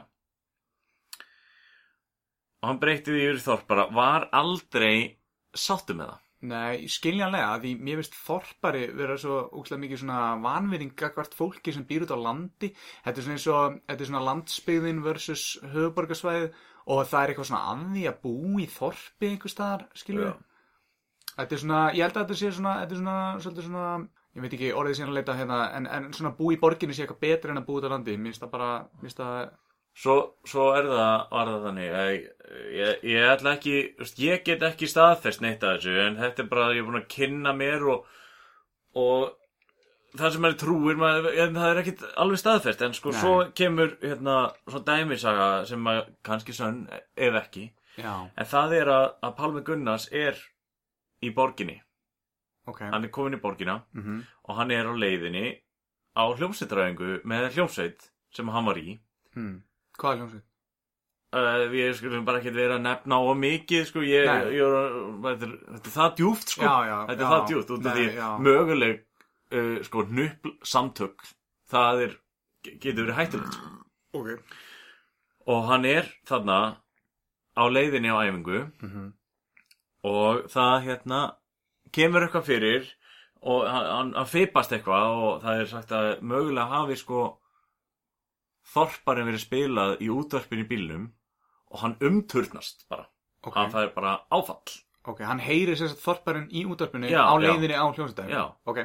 S2: Og hann breytti því yfir þorpara, var aldrei sáttu með það.
S1: Nei, skiljanlega, því mér finnst þorpari vera svo úkslega mikið svona vanvinning gagvart fólki sem býr út á landi. Þetta er svona eins og, þetta er svona landsbyggðin versus höfuborgarsvæðið og það er eitthvað svona að því að búa í þorpi einhvers staðar, skilju. Þetta er svona, ég held að þetta sé svona, þetta er svona, svolítið svona, ég veit ekki orðið síðan að leita hérna, en, en svona búa í borginni sé eitthvað betra en að búa út á landi. Mér finnst það bara, mér finnst það,
S2: Svo, svo er það, var það þannig að ég, ég, ég ætla ekki, þú veist, ég get ekki staðfest neitt af þessu en þetta er bara að ég er búin að kynna mér og, og það sem maður trúir, maður, en það er ekkit alveg staðfest en sko svo kemur hérna svo dæmisaga sem maður kannski sönn ef ekki
S1: já,
S2: en það er að, að Palmi Gunnars er í borginni,
S1: ok,
S2: hann er komin í borginna
S1: mhm,
S2: og hann er á leiðinni á hljómsveitræðingu með hljómsveit sem hann var í
S1: hm, hvað er hljómsveit?
S2: Uh, ég skulum bara ekkert vera að nefna á mikið sko, ég,
S1: Nei.
S2: ég er, þetta, er, þetta er það djúft sko,
S1: Já, já,
S2: þetta er
S1: já.
S2: það djúft út af
S1: Nei,
S2: því
S1: já.
S2: möguleg uh, sko nöpl samtök það er, getur verið hættulegt sko.
S1: Ok.
S2: og hann er þarna á leiðinni á æfingu
S1: Mhm.
S2: og það hérna kemur eitthvað fyrir og hann, hann, hann feipast eitthvað og það er sagt að mögulega hafi sko þorparinn verið spilað í útvarpinu í bílnum og hann umturnast bara
S1: Ok.
S2: hann fær bara áfall
S1: Ok, hann heyri sem sagt þorparinn í útarpinu
S2: Já,
S1: á
S2: já.
S1: leiðinni á hljómsveitæðinu.
S2: Já.
S1: Ok,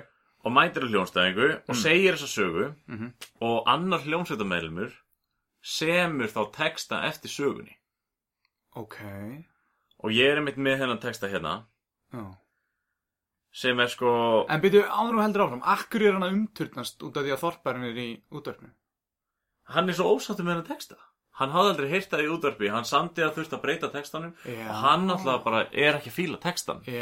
S2: og mætir að hljónstæðingu og segir þessa sögu
S1: Mm. Mhm.
S2: og annar hljónsveitamælumur semur þá texta eftir sögunni
S1: ok,
S2: og ég er einmitt með hennan texta hérna
S1: já.
S2: sem er sko
S1: En byrju, áður og heldur áfram, akkur er hann að umturnast út af því að þorparinn er í útarpinu?
S2: hann er svo ósáttur með hennan texta hann hafði aldrei heyrt það í útvarpi hann samdi að þurft að breyta textanum
S1: Já.
S2: og hann alltaf bara er ekki að fíla textan
S1: Já,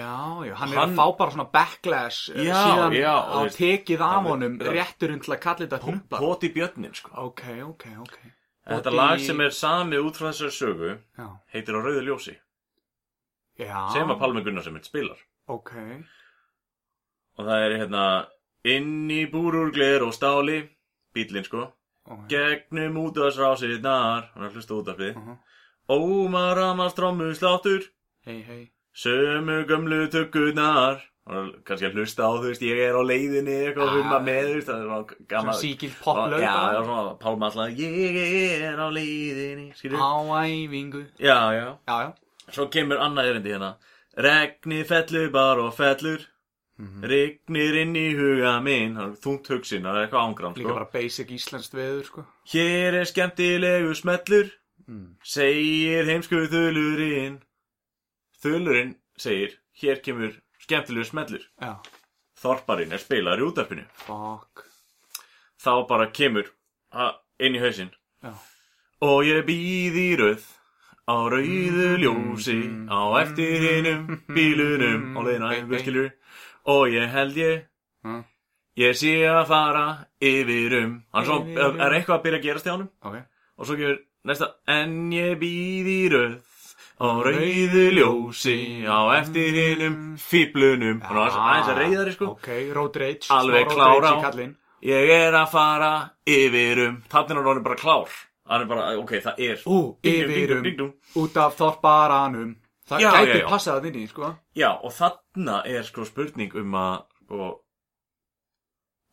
S1: já, hann, er
S2: Hann-
S1: að fá bara svona backlash eh,
S2: Já,
S1: síðan
S2: já, og
S1: á
S2: veist-
S1: tekið af
S2: hann er-
S1: honum
S2: já.
S1: rétturinn til að kalla þetta hnuppa.
S2: Póti björnin sko
S1: Ok, ok, ok.
S2: Þetta
S1: Poti-
S2: lag sem er samið út frá þessari sögu
S1: Já,
S2: heitir á rauðu ljósi
S1: já.
S2: sem að Palmi Gunnar sem eitt spilar
S1: Ok,
S2: og það er hérna inn í búrur gler og stáli bílinn sko
S1: ok.
S2: gegnum útvarsrásirnar hann er að hlusta út af því
S1: Mhm.
S2: Ómar Amars trommu sláttur
S1: Hei, hei.
S2: Sömu gömlu tökurnar og kannski að hlusta á, þú veist, ég er á leiðinni eitthvað
S1: Ah.
S2: humma með, þú veist, það er svona
S1: Svona
S2: gammal
S1: síkild poplög.
S2: Já, já, svona pálma alltaf, ég er á leiðinni, skilju
S1: Á æfingu.
S2: Já, já,
S1: Já, já.
S2: svo kemur annað erindi hérna Regni fellur bara og fellur
S1: Mhm.
S2: Rignir inn í huga minn Það er Þungt hugsin, það er eitthvað ángram
S1: Líka
S2: sko.
S1: bara basic íslenskt veður, sko.
S2: Hér er skemmtilegu smellur
S1: Mm.
S2: Segir heimsku þulurinn Þulurinn segir Hér kemur skemmtilegu smellur
S1: Já.
S2: Þorparinn er spilaður í útarpinu
S1: Fuck.
S2: Þá bara kemur ha, inn í hausinn
S1: Já.
S2: Og ég býð í rauð Á rauðu
S1: Mhm.
S2: ljósi Á eftir hinum bílunum Á leiðina einhver skilur Og ég held ég
S1: Mm.
S2: Ég sé að fara yfir um Hann svo
S1: Yfir um.
S2: er eitthvað að byrja að gerast hjá honum
S1: Ok.
S2: Og svo kemur næsta En ég býð í rauð Á rauðu ljósi Á eftir hinum fíblunum Hann var aðeins að reyðari sko
S1: Ok, road rage.
S2: Alveg
S1: smá road
S2: klár
S1: rage
S2: á.
S1: í kallinn.
S2: Ég er að fara yfir um Þannig er hann orðinn bara klár Hann er bara, ok, það er
S1: Ú, um.
S2: Ding, ding,
S1: yfirum,
S2: ding, ding.
S1: út af þorparanum. Það
S2: Já,
S1: gæti
S2: já, já.
S1: passað það inn í, sko.
S2: Já, og þarna er sko spurning um að sko,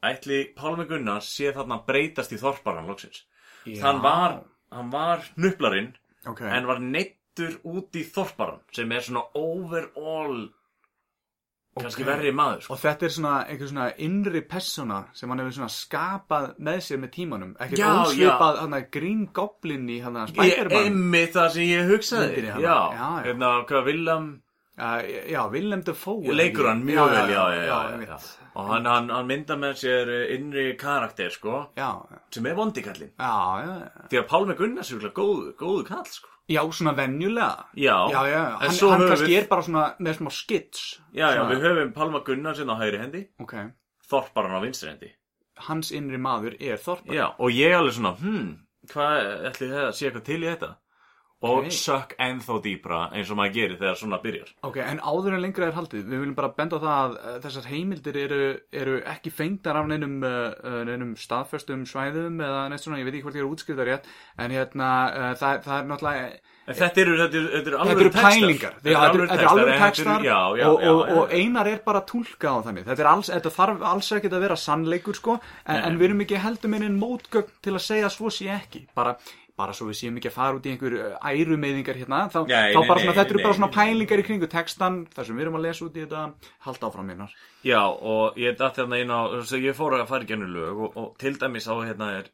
S2: ætli Pálmi Gunnars sé þarna að breytast í þorparan loksins.
S1: Já.
S2: Þann var, hann var hnuplarinn
S1: Ok.
S2: en var neittur út í þorparan sem er svona overall kannski
S1: Ok.
S2: verri maður sko.
S1: Og þetta er svona einhver svona innri persóna sem hann hefur svona skapað með sér með tímanum. Ekkert
S2: Já,
S1: ósvipað hann að Green Goblin í hann að
S2: Ég
S1: Spider-Man.
S2: emmi það sem ég hugsaði
S1: Myndinni
S2: Já,
S1: hana. Já,
S2: já,
S1: já.
S2: hérna hvað Villam
S1: Uh, já, Willem Dafoe.
S2: leikur hann mjög vel já, já, já,
S1: einmitt.
S2: já. og hann, hann, hann mynda með sér eh, innri karakter sko
S1: Já,
S2: sem er vondikallin
S1: já, já.
S2: því að Pálmi Gunnars er góðu, góðu kall sko
S1: Já, svona venjulega.
S2: Já,
S1: já, já.
S2: en
S1: Hann,
S2: svo
S1: hann
S2: höfum
S1: kannski
S2: við-
S1: er bara svona með smá skits.
S2: Já, já,
S1: Svona-
S2: við höfum Palma Gunnar sinna á hægri hendi,
S1: Ok,
S2: Þorparan á vinstri hendi.
S1: hans innri maður er Þorpar.
S2: Já, og ég alveg svona, hmm, hvað ætli það sé eitthvað til í þetta? og
S1: Ok.
S2: sökk ennþá dýpra eins og maður gerir þegar svona byrjar.
S1: Ok, en áður en lengra er haldið, við viljum bara benda á það að eh, þessar heimildir eru, eru ekki fengdar af neinum, uh, neinum staðföstum svæðum eða neitt svona, ég veit ekki hvort ég er útskriftar rétt, en hérna, uh, það, það er náttúrulega,
S2: En þetta eru, þetta eru, þetta eru
S1: Eh, þetta
S2: alvöru
S1: eru pælingar,
S2: Þetta eru alvöru
S1: þetta eru alveg
S2: en þetta
S1: textar
S2: eru- Já, já,
S1: og,
S2: já.
S1: og,
S2: já.
S1: og einar er bara að tólka á þannig, þetta, er alls, þetta þarf alls ekkert að vera sannleikur sko, en, en við erum ekki heldur minn en mótgögn til að segja svo sé ekki, bara bara svo við séum ekki að fara út í einhver eh, ærumeiðingar hérna, þá,
S2: Nei,
S1: þá
S2: nei,
S1: bara
S2: nei,
S1: svona, þetta eru
S2: nei,
S1: bara svona
S2: nei, nei.
S1: pælingar í kringu textan, þar sem við erum að lesa út í þetta, halda áfram minnar.
S2: Já, og ég datt hérna inn á, svo ég fór að fara í gennur lög og, og til dæmis á hérna er,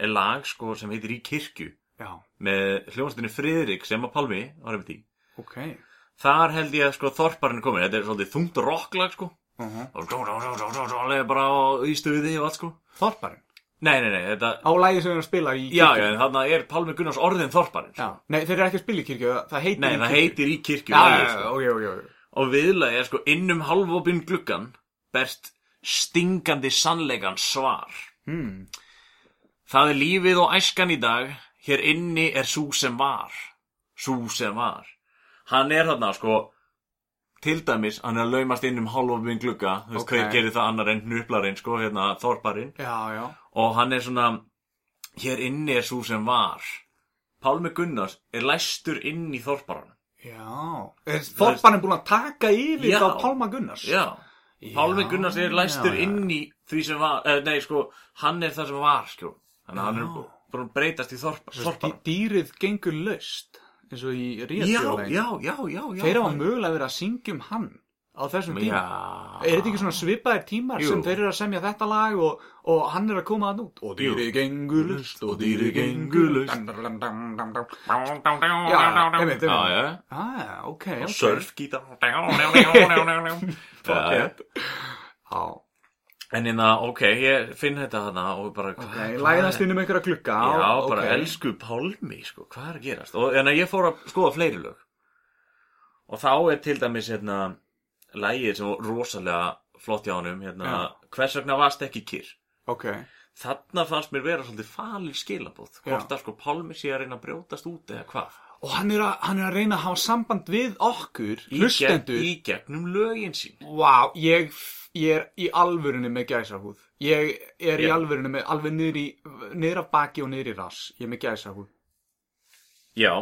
S2: er lag sko sem heitir Í kirkju
S1: Já,
S2: með hljómsdunni Friðrik sem að Palmi var einmitt í.
S1: ok.
S2: Þar held ég að sko þorparinn er komin, þetta er svolítið þungt rocklag sko.
S1: Mhm.
S2: Og svo, svo, svo, svo, svo, svo, alveg bara á- í stuði og allt sko.
S1: Þorparinn.
S2: Nei, nei, nei, þetta,
S1: Á lægi sem við erum að spila í
S2: já, já, en þarna er Palmi Gunnars orðin þorparinn
S1: Já.
S2: sko.
S1: Nei, þeir eru ekki að spila í kirkju, það- það heitir
S2: Nei,
S1: í
S2: það
S1: kirkju.
S2: heitir Í kirkju
S1: Já,
S2: lagið,
S1: já, já,
S2: sko.
S1: ok, ok, ok.
S2: og viðlagi er sko innum halvopinn gluggan berst stingandi sannleikan svar hmm. það er lífið og æskan í dag hér inni er sú sem var sú sem var hann er þarna sko til dæmis, hann er að laumast inn um halvopinn glugga þú veist,
S1: Ok.
S2: hver gerir það annar en hnuplarinn sko, hérna þorparinn
S1: Já, já.
S2: og hann er svona hér inni er sú sem var Pálmi Gunnars er læstur inn í þorparann
S1: Já. Þorparinn er búin að taka yfir
S2: Já.
S1: þetta á Pálma Gunnars.
S2: Já, Pálmi Gunnars er læstur
S1: já, já.
S2: inn í því sem var, eh, nei sko, hann er það sem var, sko. Þannig að hann er búin að breytast í þorpa,
S1: Dí-
S2: þorpar.
S1: Dýrið gengur löst, eins og í
S2: Já,
S1: ríðatjóðlegin.
S2: já, já, já, já.
S1: Þeir hafa mögulega verið að syngja um hann á þessum tíma.
S2: Já.
S1: Er þetta ekki svona svipaðir tímar
S2: Jú.
S1: sem þeir eru að semja þetta lag og, og hann er að koma að nút? Og dýrið gengur löst, og dýrið gengur löst. Dam, dam, dam, dam, dam, dam. Já, já, einmitt, einmitt.
S2: Já, já.
S1: Ah, ok, ok.
S2: Surfgítar. Já, já.
S1: Já,
S2: En hérna, ok, ég finn þetta hana og bara...
S1: ok, læðast inn um einhverja glugga.
S2: Já, bara
S1: ok.
S2: elsku Pálmi, sko, hvað er að gerast? Og en að ég fór að skoða fleiri lög. Og þá er til dæmis, hérna, lægið sem var rosalega flott hjá honum, hérna, hvers vegna varst ekki kyrr?
S1: Ok,
S2: Þarna fannst mér vera svolítið falið skilabóð, hvort að sko Pálmi sé að reyna að brjótast út eða hvað.
S1: og hann er, að, hann er að reyna að hafa samband við okkur,
S2: Í
S1: hlustendur.
S2: gegn- Í gegnum lögin sín.
S1: Vá, ég, ég er í alvörunni með gæsahúð. Ég er í
S2: Já.
S1: alvörunni með alveg niður, í, niður af baki og niður í rass. Ég er með gæsahúð.
S2: Já,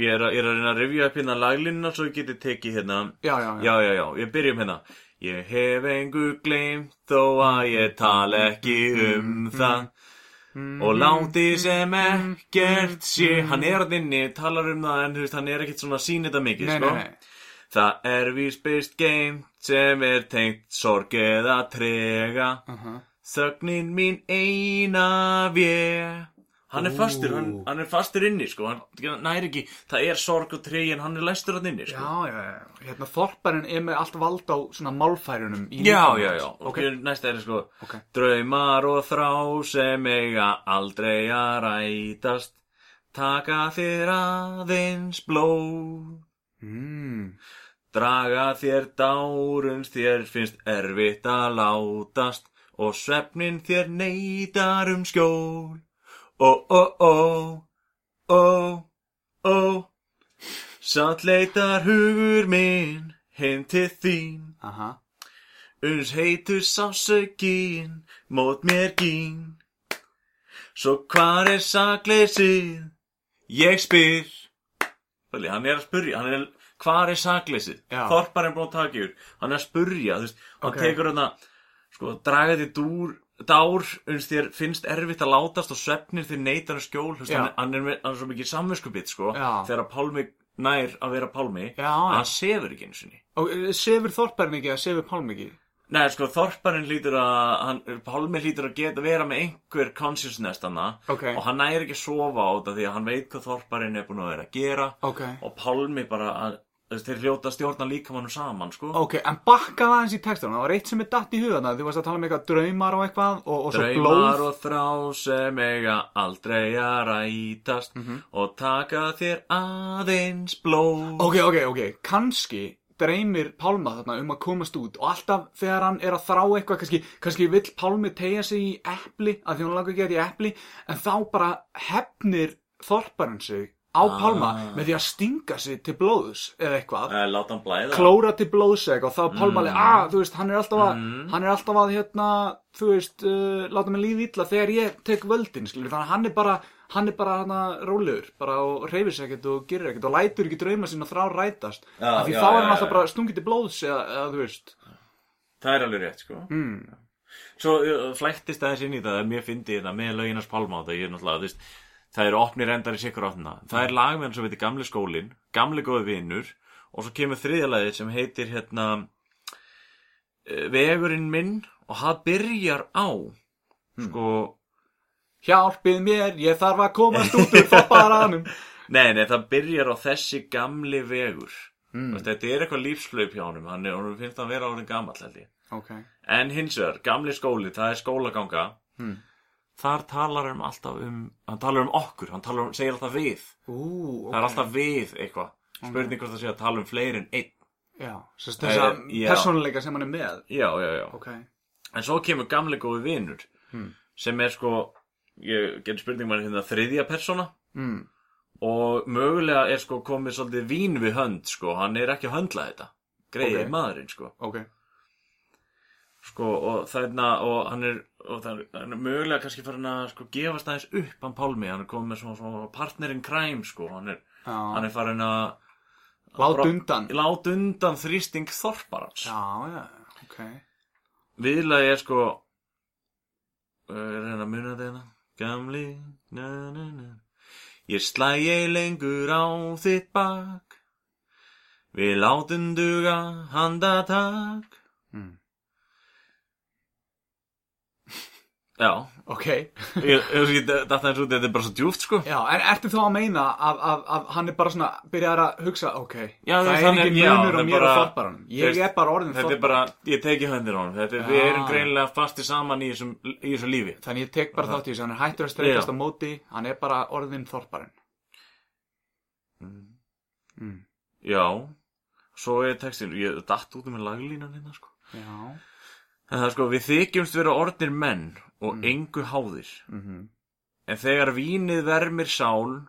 S2: ég er að, ég er að reyna að rifja upp hérna laglínuna svo ég geti tekið hérna...
S1: Já, já, já.
S2: já, já, já, ég byrjum hérna Ég hef engu gleymt þó að ég tal ekki um það Og láti sem ekkert sé Hann er að inni, talar um það en þú veist, hann er ekkert svona að sýna þetta mikið
S1: nei,
S2: sko?
S1: nei, nei.
S2: Það er vísbyst geimt sem er tengt sorg eða trega Þögnin mín eina vér Hann er fastur, hann, hann er fastur inni sko, hann næri ekki, það er sorg og tregi en hann er læstur hann inni sko.
S1: Já, já, já. Hérna, þorparinn er með allt vald á svona málfærunum. í
S2: Já,
S1: líkamann.
S2: já, já, og
S1: Ok,
S2: okay. næsta er sko
S1: Ok.
S2: Draumar og þrá sem eiga aldrei að rætast Taka þér aðeins blóð
S1: mm,
S2: Draga þér dárums, þér finnst erfitt að látast Og svefnin þér neytar um skjól Ó, ó, ó, ó, ó Satt leitar hugur minn heim til þín
S1: aha.
S2: uns heitur sásökin mót mér gín. Svo hvar er sakleysið? Ég spyr. Þannig, hann er að spyrja, hann er, hvar er sakleysið?
S1: Já.
S2: Þorpar er búin að taka yfir, hann er að spyrja, þú veist, hann
S1: Ok.
S2: tekur hann að, sko, draga þér dúr, dár, uns þér finnst erfitt að látast og svefnir þér neytar um skjól, þú veist,
S1: Já.
S2: hann, er- hann er með, hann er svo mikið samvinskupið, sko,
S1: Já.
S2: þegar að Pálmi nær að vera Pálmi,
S1: Já, já.
S2: að hann sefur ekki einu sinni.
S1: Og eh, sefur þorparinn ekki eða sefur pálm ekki?
S2: Nei, sko, þorparinn hlýtur að, hann, Pálmi hlýtur að geta vera með einhver consciousness þarna
S1: Ok.
S2: og hann næri ekki að sofa á þetta því að hann veit hvað þorparinn er búin að vera að gera
S1: Ok.
S2: og Pálmi bara, að, þú veist, þeir hljóta að stjórna líkamannum saman, sko.
S1: Ok, en bakka það eins í textunum, það var eitt sem er datt í hugana, þú varst að tala um eitthvað draumar og eitthvað og, og svo
S2: Draumar
S1: blóð.
S2: og þrá sem eiga aldrei að rætast
S1: Mhm.
S2: og taka þér aðeins blóð.
S1: Ok, ok, ok, kannski dreymir Pálma þarna um að komast út og alltaf þegar hann er að þrá eitthvað kannski, kannski vill Pálmi tegja sig í epli að því hann langar ekki að þetta í epli en þá bara hefnir þorparinn sig á Palma með því að stinga sig til blóðus eða eitthvað
S2: Eh, Láta hann blæða
S1: klóra til blóðseg og þá pálmali mm. ah, þú veist, hann er alltaf að,
S2: Mm.
S1: hann er alltaf að hérna, þú veist, uh, láta mig líða illa þegar ég tek völdin, skilur þannig að hann er bara, hann er bara hana rólegur, bara og reyfir sig ekkert og gerir ekkert og lætur ekki drauma sinna þrá rætast
S2: Já,
S1: af því
S2: já,
S1: þá er
S2: já,
S1: hann alltaf
S2: já.
S1: bara stungið til blóðs eða, eða þú veist,
S2: Það er alveg rétt, sko. Mm. Svo uh, flættist aðeins inn í það að mér fyndi þetta með löginars Palma þetta, ég er náttúrulega, þú veist, það eru opnir endar í sikkur áttina. Það er lag með hann sem heitir Gamli skólinn, Gamli góði vinnur og svo kemur þriðja lagið sem heitir hérna eh, Vegurinn minn og það byrjar á, sko,
S1: hjálpið mér, ég þarf að komast út úr fopparanum
S2: Nei, nei, það byrjar á þessi gamli vegur mm. Þetta er eitthvað lífsflöp hjá honum Hann er, honum finnst hann vera orðin gamall held ég
S1: ok,
S2: En hins vegar, gamli skóli, það er skólaganga
S1: Hmm.
S2: Þar talar hann alltaf um Hann talar um okkur, hann talar um, segir alltaf við
S1: ú,
S2: Það
S1: ok
S2: er alltaf við eitthvað Spurning hvort það sé að tala um fleiri en einn
S1: já, sem sagt
S2: Það
S1: þessa
S2: er- Eh, já.
S1: persónuleika sem hann er með
S2: Já, já, já
S1: ok,
S2: En svo kemur gamli góði vinur Sem er sko, ég getur spurning mann hérna þriðja persóna
S1: mm.
S2: og mögulega er sko komið svolítið vín við hönd sko, hann er ekki að höndla þetta greið
S1: Ok.
S2: maðurinn sko,
S1: ok
S2: sko og þarna og hann er, og það, er- hann er mögulega kannski farin að sko gefast aðeins upp hann Pálmi, hann er komið með svona, svona partnerinn kræm sko, hann er, hann
S1: já,
S2: er farin að
S1: lát
S2: bra-
S1: undan
S2: láta undan þrýsting þorparans
S1: já, já, ok
S2: viðlagi er sko er hérna að muna þetta hérna? gamli na, na, na. ég slæ ég lengur á þitt bak við látum duga handatak
S1: Mm.
S2: já
S1: ok
S2: ég, ég, ég, þetta er svo þetta er bara svo djúft sko
S1: Já, en ertu þá að meina að, að, að hann er bara svona, byrjar að hugsa, ok,
S2: Já,
S1: það er
S2: þannig-
S1: ekki
S2: já,
S1: munur á
S2: það er
S1: mér
S2: bara-
S1: og þorparanum. Ég
S2: Veist,
S1: er bara orðin
S2: þetta er
S1: þorpar.
S2: bara, ég teki höndir á hann þetta er, við
S1: Já.
S2: erum greinilega fastið saman í þessum, í þessum lífi
S1: Þannig ég tek bara þátt í þessu, hann er hættur að streitast á móti, hann er bara orðin þorparinn.
S2: já, svo er textin ég datt út með laglínan hérna sko
S1: Já,
S2: En það er sko, við þykjumst vera orðnir menn og engu háðir.
S1: Mhm.
S2: En þegar vínið vermir sál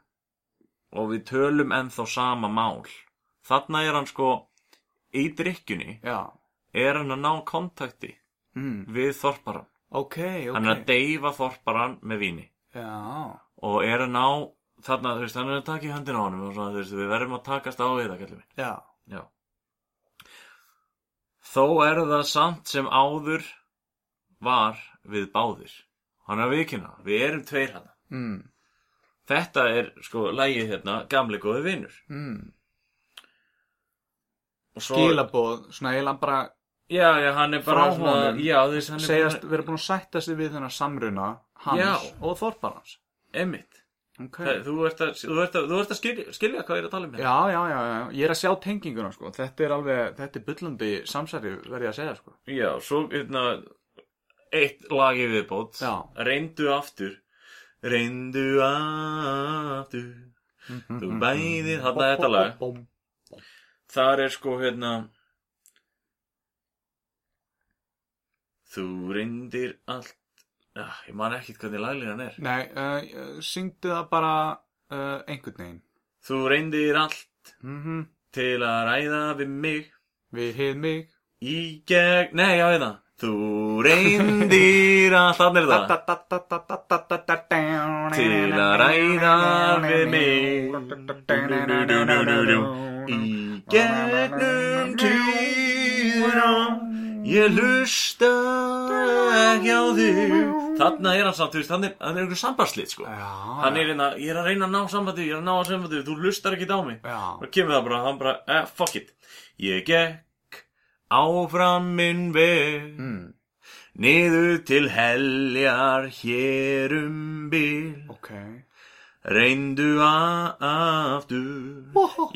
S2: og við tölum ennþá sama mál. Þarna er hann sko, í drikkjunni,
S1: já,
S2: er hann að ná kontakti
S1: Mm.
S2: við þorparan.
S1: ok, ok.
S2: Hann er að deyfa þorparan með víni.
S1: Já,
S2: Og er að ná, þarna, þú veist, hann er að taka í höndin á honum og svona, þú veist, við verðum að takast á við það, kallum við.
S1: já,
S2: Já. Þó er það samt sem áður var við báðir. Hann er að vikina, við erum tveir hana.
S1: mm,
S2: Þetta er sko lægið hérna, gamli góði vinnur.
S1: mm.
S2: Og svo-
S1: Gílabóð, svona eiginlega bara
S2: Já, já, hann er bara
S1: Frá
S2: svona,
S1: honum.
S2: já, þú veist, hann er
S1: segjast,
S2: bara,
S1: vera búin að sætta sig við þennan samruna hans
S2: Já.
S1: og þorparans.
S2: emmitt.
S1: Ok.
S2: Þú ert að, þú ert að, þú ert að skilja, skilja hvað ég er að tala um hérna.
S1: Já, já, já, já, ég er að sjá tenginguna, sko. Þetta er alveg, þetta er byllandi samsæri, verði ég að segja, sko.
S2: Já, svo, hérna, eitt lagi viðbót.
S1: Já.
S2: Reyndu aftur. Reyndu aftur.
S1: Mm,
S2: Þú bæðir, hann er þetta lag.
S1: Bom, bom, bom.
S2: Þar er sko hérna Þú reyndir allt ah, Ég man ekkit hvernig laglínan er
S1: Nei, uh, syngdu það bara uh, einhvern veginn.
S2: Þú reyndir allt
S1: Mm
S2: til að ræða við mig
S1: Við heið mig.
S2: Í gegn Nei, já, hérna Þú reyndir allt Þannig er það
S1: Til
S2: Til að ræða við mig Í gegnum tíra Ég hlusta ekki á þig Þarna er hann samt, þú veist, hann er, hann er einhver sambarslið, sko
S1: Já,
S2: Hann er einna, ég er að reyna að ná sambandi, ég er að ná sambandi, þú hlustar ekki á mig
S1: já,
S2: Og kemur það bara, hann bara, eh, fuck it Ég gekk áfram minn veg
S1: mm,
S2: Niður til heljar hér um bil
S1: ok.
S2: Reyndu aftur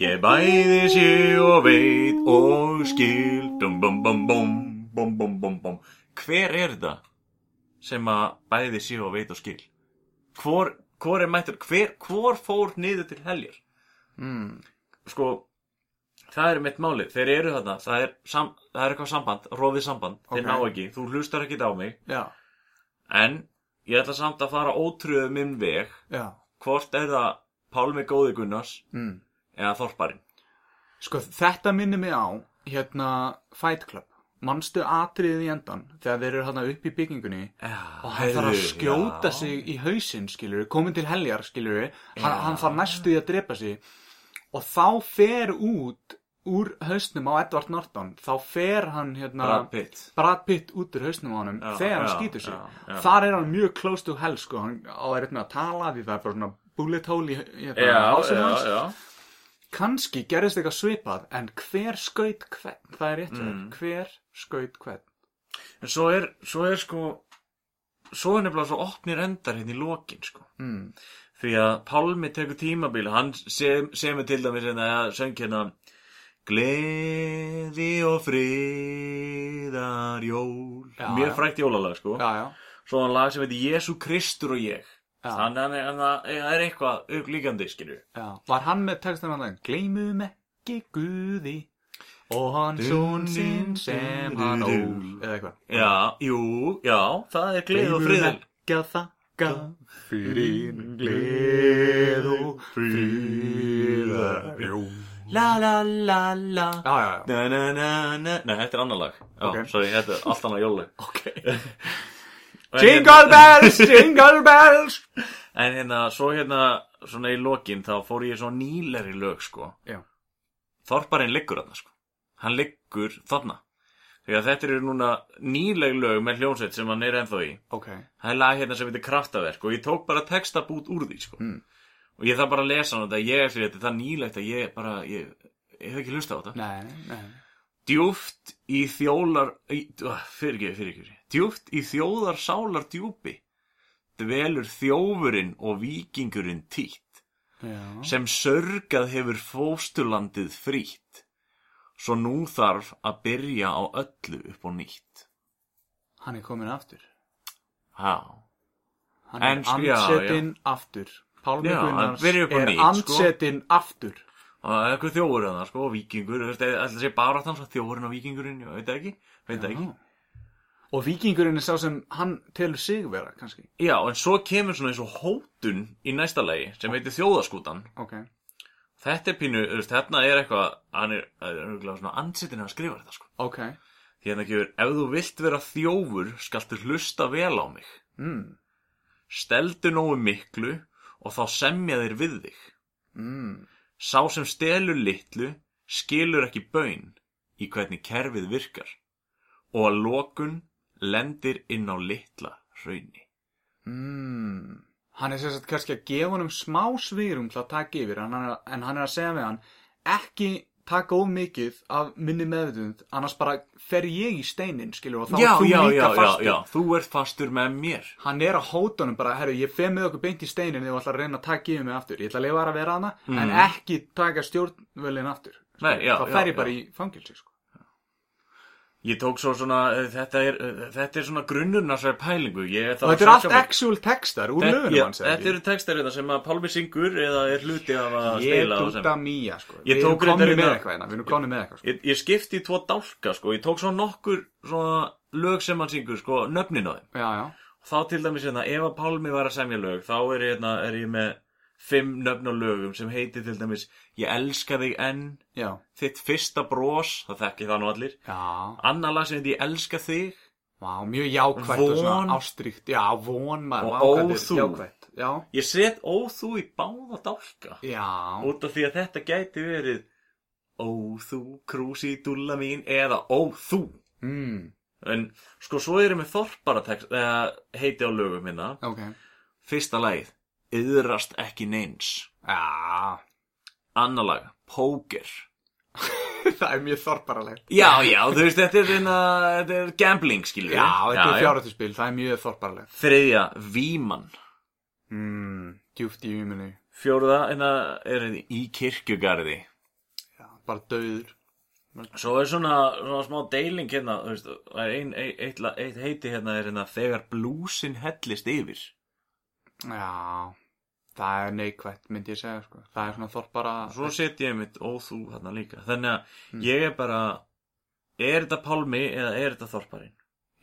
S2: Ég bæði sé og veit og skil Dum bum bum bum bum bum bum bum Hver er það sem að bæði sé og veit og skil? Hvor, hvor er mættur? Hver, hvor fór niður til heljar?
S1: Mm,
S2: Sko, það er mitt máli Þeir eru þarna, það er, sam, það er eitthvað samband Róðið samband,
S1: Ok.
S2: þeir ná ekki Þú hlustar ekki á mig
S1: já,
S2: En ég ætla samt að fara ótröðu minn veg
S1: já,
S2: Hvort er það Pálmi Góði Gunnars
S1: Mm.
S2: eða Þorparinn
S1: Sko þetta minnir mig á hérna Fight Club Manstu atriðið í endan þegar þeir eru hérna upp í byggingunni og hann þarf að skjóta sig í hausinn skilur, komin til heljar skilur hann, hann þarf næstu í að drepa sig og þá fer út úr hausnum á Edvard Norton þá fer hann hérna
S2: Brad Pitt
S1: Brad Pitt út úr hausnum á honum
S2: Já,
S1: þegar hann
S2: já,
S1: skýtur sig
S2: já, já.
S1: þar er hann mjög close to hell sko, hann á er með að tala því það er bara svona bullet hole í hérna,
S2: Já,
S1: hálsinum
S2: já,
S1: hans.
S2: já
S1: kannski gerðist eitthvað svipað en hver skaut hvern það er rétt mm. hver skaut hvern
S2: En svo er, svo er sko Svo er nefnilega svo opnir endar hérna í lokin sko
S1: mm.
S2: Því að Pálmi tekur tímabíl Hann sem, semur til dæmis hérna að söng hérna Gleði og friðar jól
S1: Já,
S2: Mjög
S1: já.
S2: frækt jólalag sko
S1: já já,
S2: Svo hann lag sem heitir Jésu Kristur og ég
S1: Já.
S2: Þannig að- þannig að það er eitthvað upplíkandi skilju
S1: já var hann með textan hann þegar gleymum ekki Guði og hann són sinn sem hann ól eða eitthvað
S2: Já, jú, já, það er gleði og
S1: Gleymum
S2: friðar
S1: ekki að þakka fyrir gleð og friðar jól
S2: La la la la
S1: já já já
S2: Na, na, na, na. Nei, þetta er annar lag Já,
S1: Ok.
S2: sorry, þetta er allt annað jólag
S1: ok jingle bells jingle bells
S2: En hérna, svo hérna, svona í lokin þá fór ég svo nýleri lög, sko
S1: Já.
S2: Þorparinn liggur þarna, sko Hann liggur þarna Þegar þetta eru núna nýleg lög með hljónsett sem hann er ennþá í
S1: ok
S2: Það er lag hérna sem heitir Kraftaverk og ég tók bara textabút úr því, sko
S1: Mm.
S2: Og ég þarf bara að lesa hann þetta, ég ætli þetta er það nýlegt að ég bara, ég, ég hef ekki hlusta á þetta
S1: nei nei
S2: djúft í þjólar fyrir ekki, fyrir ekki djúft í þjóðar sálar djúpi dvelur þjófurinn og vikingurinn títt
S1: já
S2: sem sörgað hefur fóstulandið frýtt svo nú þarf að byrja á öllu upp og nýtt
S1: hann er komin aftur
S2: Há.
S1: Hann er
S2: En sko, já,
S1: andsetinn aftur Pálmi
S2: Já, hann
S1: Gunnars
S2: byrjar upp á
S1: er
S2: nýtt, sko.
S1: andsetinn aftur
S2: og það er eitthvað þjófur þarna sko, og vikingur, þetta er alltaf sé bara þannig að þjófurinn og vikingurinn, ég veit það ekki veit það ekki,
S1: Já. Og vikingurinn er sá sem hann telur sig vera kannski
S2: já, en svo kemur svona eins og hótun í næsta lagi sem heitir þjóðaskútan
S1: Ok,
S2: Þetta er pínu, þú veist, hérna er eitthvað, hann er, hann er örugglega svona ansettin að skrifa þetta, sko.
S1: ok
S2: Því hérna gefur, ef þú vilt vera þjófur, skaltu hlusta vel á mig.
S1: mm.
S2: Steldu nógu miklu og þá semja þér við þig.
S1: Mm.
S2: Sá sem stelur litlu, skilur ekki baun í hvernig kerfið virkar. Og að lokun lendir inn á litla hraunni.
S1: Mm. Hann er sérstætt kannski að gefa honum smá svirum til að taka yfir en hann, er, en hann er að segja við hann ekki taka of mikið af minni meðvitund annars bara fer ég í steinin skilur og þá ert þú líka fastur
S2: þú ert fastur með mér.
S1: hann er að hóta honum bara, herru, ég feð með okkur beint í steinin þegar þú ætlar að reyna að taka yfir mig aftur ég ætla að lifa þær að vera hana, en ekki taka stjórnvölin aftur sko.
S2: Mhm. Nei, já,
S1: þá
S2: já,
S1: fer
S2: já.
S1: ég bara í fangilsi sko.
S2: Ég tók svo svona, eh, þetta er, eh, þetta er svona grunnurinn að sér pælingu. Ég,
S1: og þetta er allt actual textar úr
S2: Þetta-
S1: lögunum
S2: já,
S1: hans
S2: Þetta eru textar hérna sem að Pálmi syngur eða er hluti af að
S1: ég
S2: spila og sem.
S1: dúta mía sko.
S2: Ég
S1: við erum
S2: tók reyndar
S1: komni með
S2: hérna-
S1: eitthvað hérna, við erum komni með eitthvað sko.
S2: Ég, ég skipti í tvo dálka sko, ég tók svo nokkur svona lög sem hann syngur sko, nöfnin á þeim.
S1: já, já,
S2: Þá til dæmis hérna, ef að Pálmi var að semja lög, þá er ég, hérna, er ég með fimm nöfn á lögum sem heitir til dæmis Ég elska þig enn,
S1: já,
S2: þitt fyrsta brós, það þekki það nú allir.
S1: já.
S2: Annar lag sem heitir Ég elska þig
S1: Vá, mjög jákvætt og
S2: Von.
S1: svona ástrykt já, von maður,
S2: Og
S1: vá, hvað þetta er
S2: óþú.
S1: jákvætt já,
S2: Ég set ó þú í báða dálka.
S1: já,
S2: út af því að þetta gæti verið ó þú krúsi dúlla mín eða ó þú
S1: mm,
S2: en sko svo erum við þorpara text, eða, heiti á lögum hérna. minna
S1: ok
S2: fyrsta lagið yðrast ekki neins
S1: já,
S2: annar lag póker
S1: það er mjög þorparalegt
S2: já já þú veist þetta er, inna, þetta er gambling
S1: já,
S2: skilur
S1: þetta er fjárhættuspil, það er mjög þorparalegt
S2: þriðja víman
S1: Mm, djúft í uminu
S2: fjórða en er þetta í kirkjugarði
S1: bara döður
S2: Svo er svona, svona smá deiling hérna, þú veist, það er ein, ein, eitt, la- eitt heiti hérna er hérna þegar blúsin hellist yfir.
S1: já, það er neikvætt myndi ég segja sko, það er svona þorpara
S2: Svo set ég mitt ó þú hérna líka. Þannig að ég er bara, er þetta Pálmi eða er þetta Þorparinn?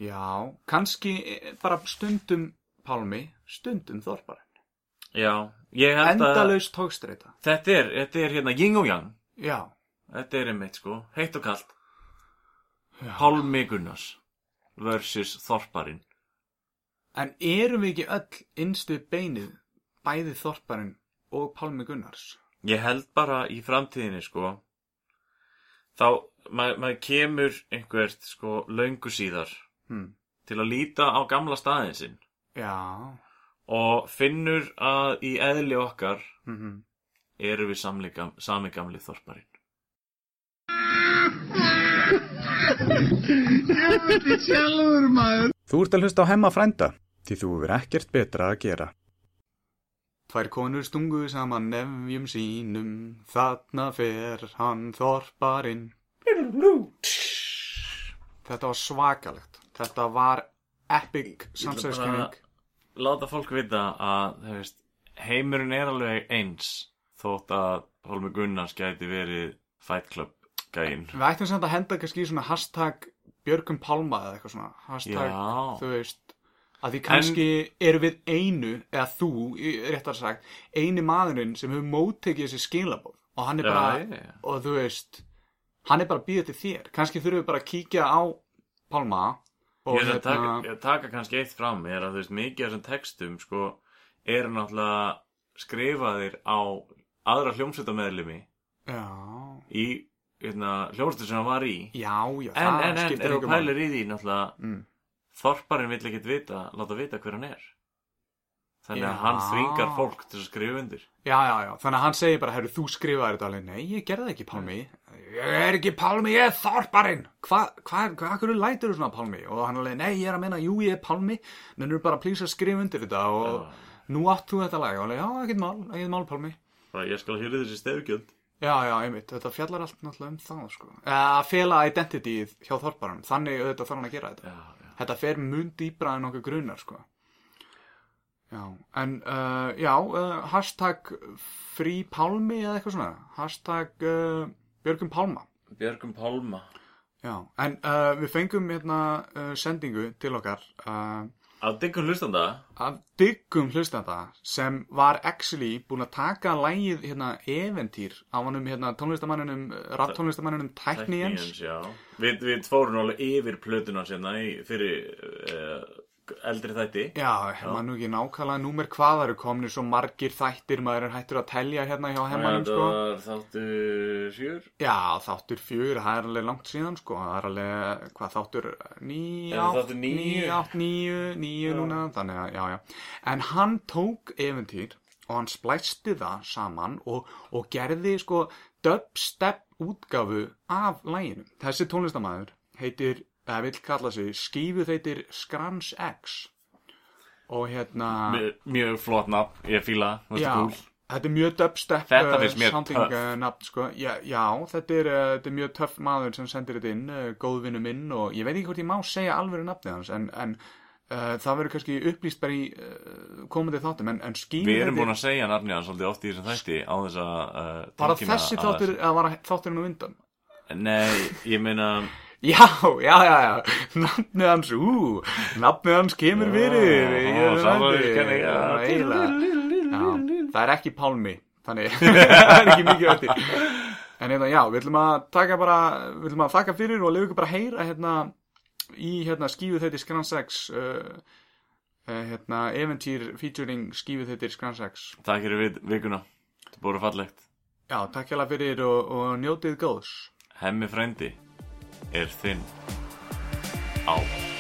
S1: já, kannski eh, bara stundum pálmi, stundum þorpara
S2: Já, ég held að
S1: Endalaus tókstreita.
S2: þetta er, þetta er hérna yin og yang.
S1: Já.
S2: Þetta er einmitt sko, heitt og kallt. Pálmi Gunnars versus Þorparinn.
S1: En erum við ekki öll innstu beinið, bæði Þorparinn og Pálmi Gunnars?
S2: Ég held bara í framtíðinni sko, þá maður ma kemur einhvert sko löngu síðar
S1: Hmm.
S2: til að líta á gamla staðin sinn
S1: Já.
S2: og finnur að í eðli okkar
S1: Mm -hmm.
S2: eru við samli gam- sami gamli Þorparinn.
S10: Þetta er sjálfur maður.
S11: Þú ert að hlusta á hemma frænda, því þú hefur ekkert betra að gera.
S1: Tvær konur stungu saman nefjum sínum, þarna fer hann Þorparinn. Þetta var svakalegt. Þetta var epic samsæðskynning.
S2: Láta fólk vita að þú veist, heimurinn er alveg eins þótt að Holmi Gunnars gæti verið Fight Club gæinn.
S1: Við ættum samt að henda kannski í svona hashtag Björgum Pálma eða eitthvað svona. Hashtag, þú
S2: Já.
S1: veist, að því kannski erum við einu, eða þú, í- réttar sagt, eini maðurinn sem hefur móttekið þessi skilabóð. Og hann er
S2: Já,
S1: bara,
S2: já, já.
S1: og þú veist, hann er bara að býða til þér. Kannski þurfum við bara að kíkja á Pálma. og
S2: Ég er að taka,
S1: hérna-
S2: ég taka kannski eitt fram er að þú veist, mikið af þessum textum sko, eru náttúrulega skrifaðir á aðra hljómsveitameðlumi
S1: Já,
S2: í hérna, hljómsveitum sem hann var í.
S1: já, já,
S2: En, en, en,
S1: skiptir
S2: er þú
S1: engu máli.
S2: pælir í því náttúrulega
S1: Mm.
S2: Þorparinn vill ekkit vita, láta vita hver hann er. Þannig að
S1: Já.
S2: hann þvingar fólk til að skrifa undir.
S1: Já, já, já, þannig að hann segir bara, herru, þú skrifaði þetta alveg, nei, ég gerði það ekki, Pálmi, ég er ekki Pálmi, ég er Þorparinn, hvað, hvað, hvað, hverju lætur þú svona, Pálmi, og hann alveg, nei, ég er að meina, jú, ég er Pálmi, mennur bara að plýsa að skrifa undir þetta og nú átt þú þetta lag, og alveg, já, ekkert mál, ekkert mál, Pálmi,
S2: Bara ég skal hýrið þessi stefgjöld.
S1: já, já, einmitt, þetta fjallar allt náttúrulega um það, sko, Eh, að fela identityð hjá Þorparinn, þannig auðvitað þarf hann að gera þetta
S2: Já, já.
S1: þetta fer mun dýbra en okkur grunar sko já, en uh, já uh, hashtag frí pálmi eða eitthvað svona, hashtag uh, björgum pálma
S2: Björgum Pálma.
S1: já, en uh, við fengum hérna uh, sendingu til okkar uh,
S2: Að diggum hlustanda.
S1: af dyggum hlustanda sem var actually búin að taka lægið hérna eventýr af honum hérna tónlistamanninum raftónlistamanninum Tæknijens
S2: já. Við, við fórum alveg yfir plötuna sinna í, fyrir uh, eldri þætti.
S1: Já, hef maður nú ekki nákvæmlega númer hvað það eru komnir svo margir þættir maður er hættur að telja hérna hjá hemmanum
S2: Þetta
S1: sko.
S2: var þáttur sjör.
S1: Já, þáttur fjögur, það er alveg langt síðan sko, það er alveg, hvað þáttur, níu,
S2: Er það þáttur níu?
S1: átt, níu, níu núna, þannig að, já, já. En hann tók eventýr og hann splæsti það saman og, og gerði sko dubstep útgáfu af læginu. Þessi tónlistamæður heitir, eða vill kalla sig, skífu þeitir Skrans X og hérna...
S2: Mjög flott nafn, ég fíla, það
S1: Já,
S2: er cool.
S1: þetta er mjög dubstep
S2: Þetta
S1: uh,
S2: finnst mér
S1: sounding,
S2: töff.
S1: uh, nafn, sko. já, já, þetta er, uh, þetta er mjög töff maður sem sendir þetta inn uh, góðvinu minn og ég veit ekki hvort ég má segja alveg nafnið hans en, en uh, það verður kannski upplýst bara í uh, komandi þáttum en, en skýr
S2: Við erum búin að segja nafni hans svolítið oft í þessum þætti á þess að uh,
S1: Bara
S2: tilkynna
S1: þessi
S2: að-
S1: þáttur, eða var þátturinn á undan?
S2: Nei, ég meina
S1: Já, já, já, já, nafnið hans, ú, nafnið hans kemur fyrir, ég
S2: já,
S1: er
S2: sá það
S1: vandi.
S2: er ekki, já.
S1: Já, eiginlega. Já, það er ekki Pálmi, þannig, það er ekki mikið öttir. En hérna, já, við ætlum að taka bara, við ætlum að þakka fyrir og lefa ykkur bara að heyra hérna í hérna skífu þeitir Skransex, uh, uh, hérna, eventýr featuring skífu þeitir Skransex.
S2: Takk fyrir við, vikuna Þetta er búin fallegt
S1: Já, takk hjá fyrir og, og njótið góðs.
S2: Hemmi frendi er þinn á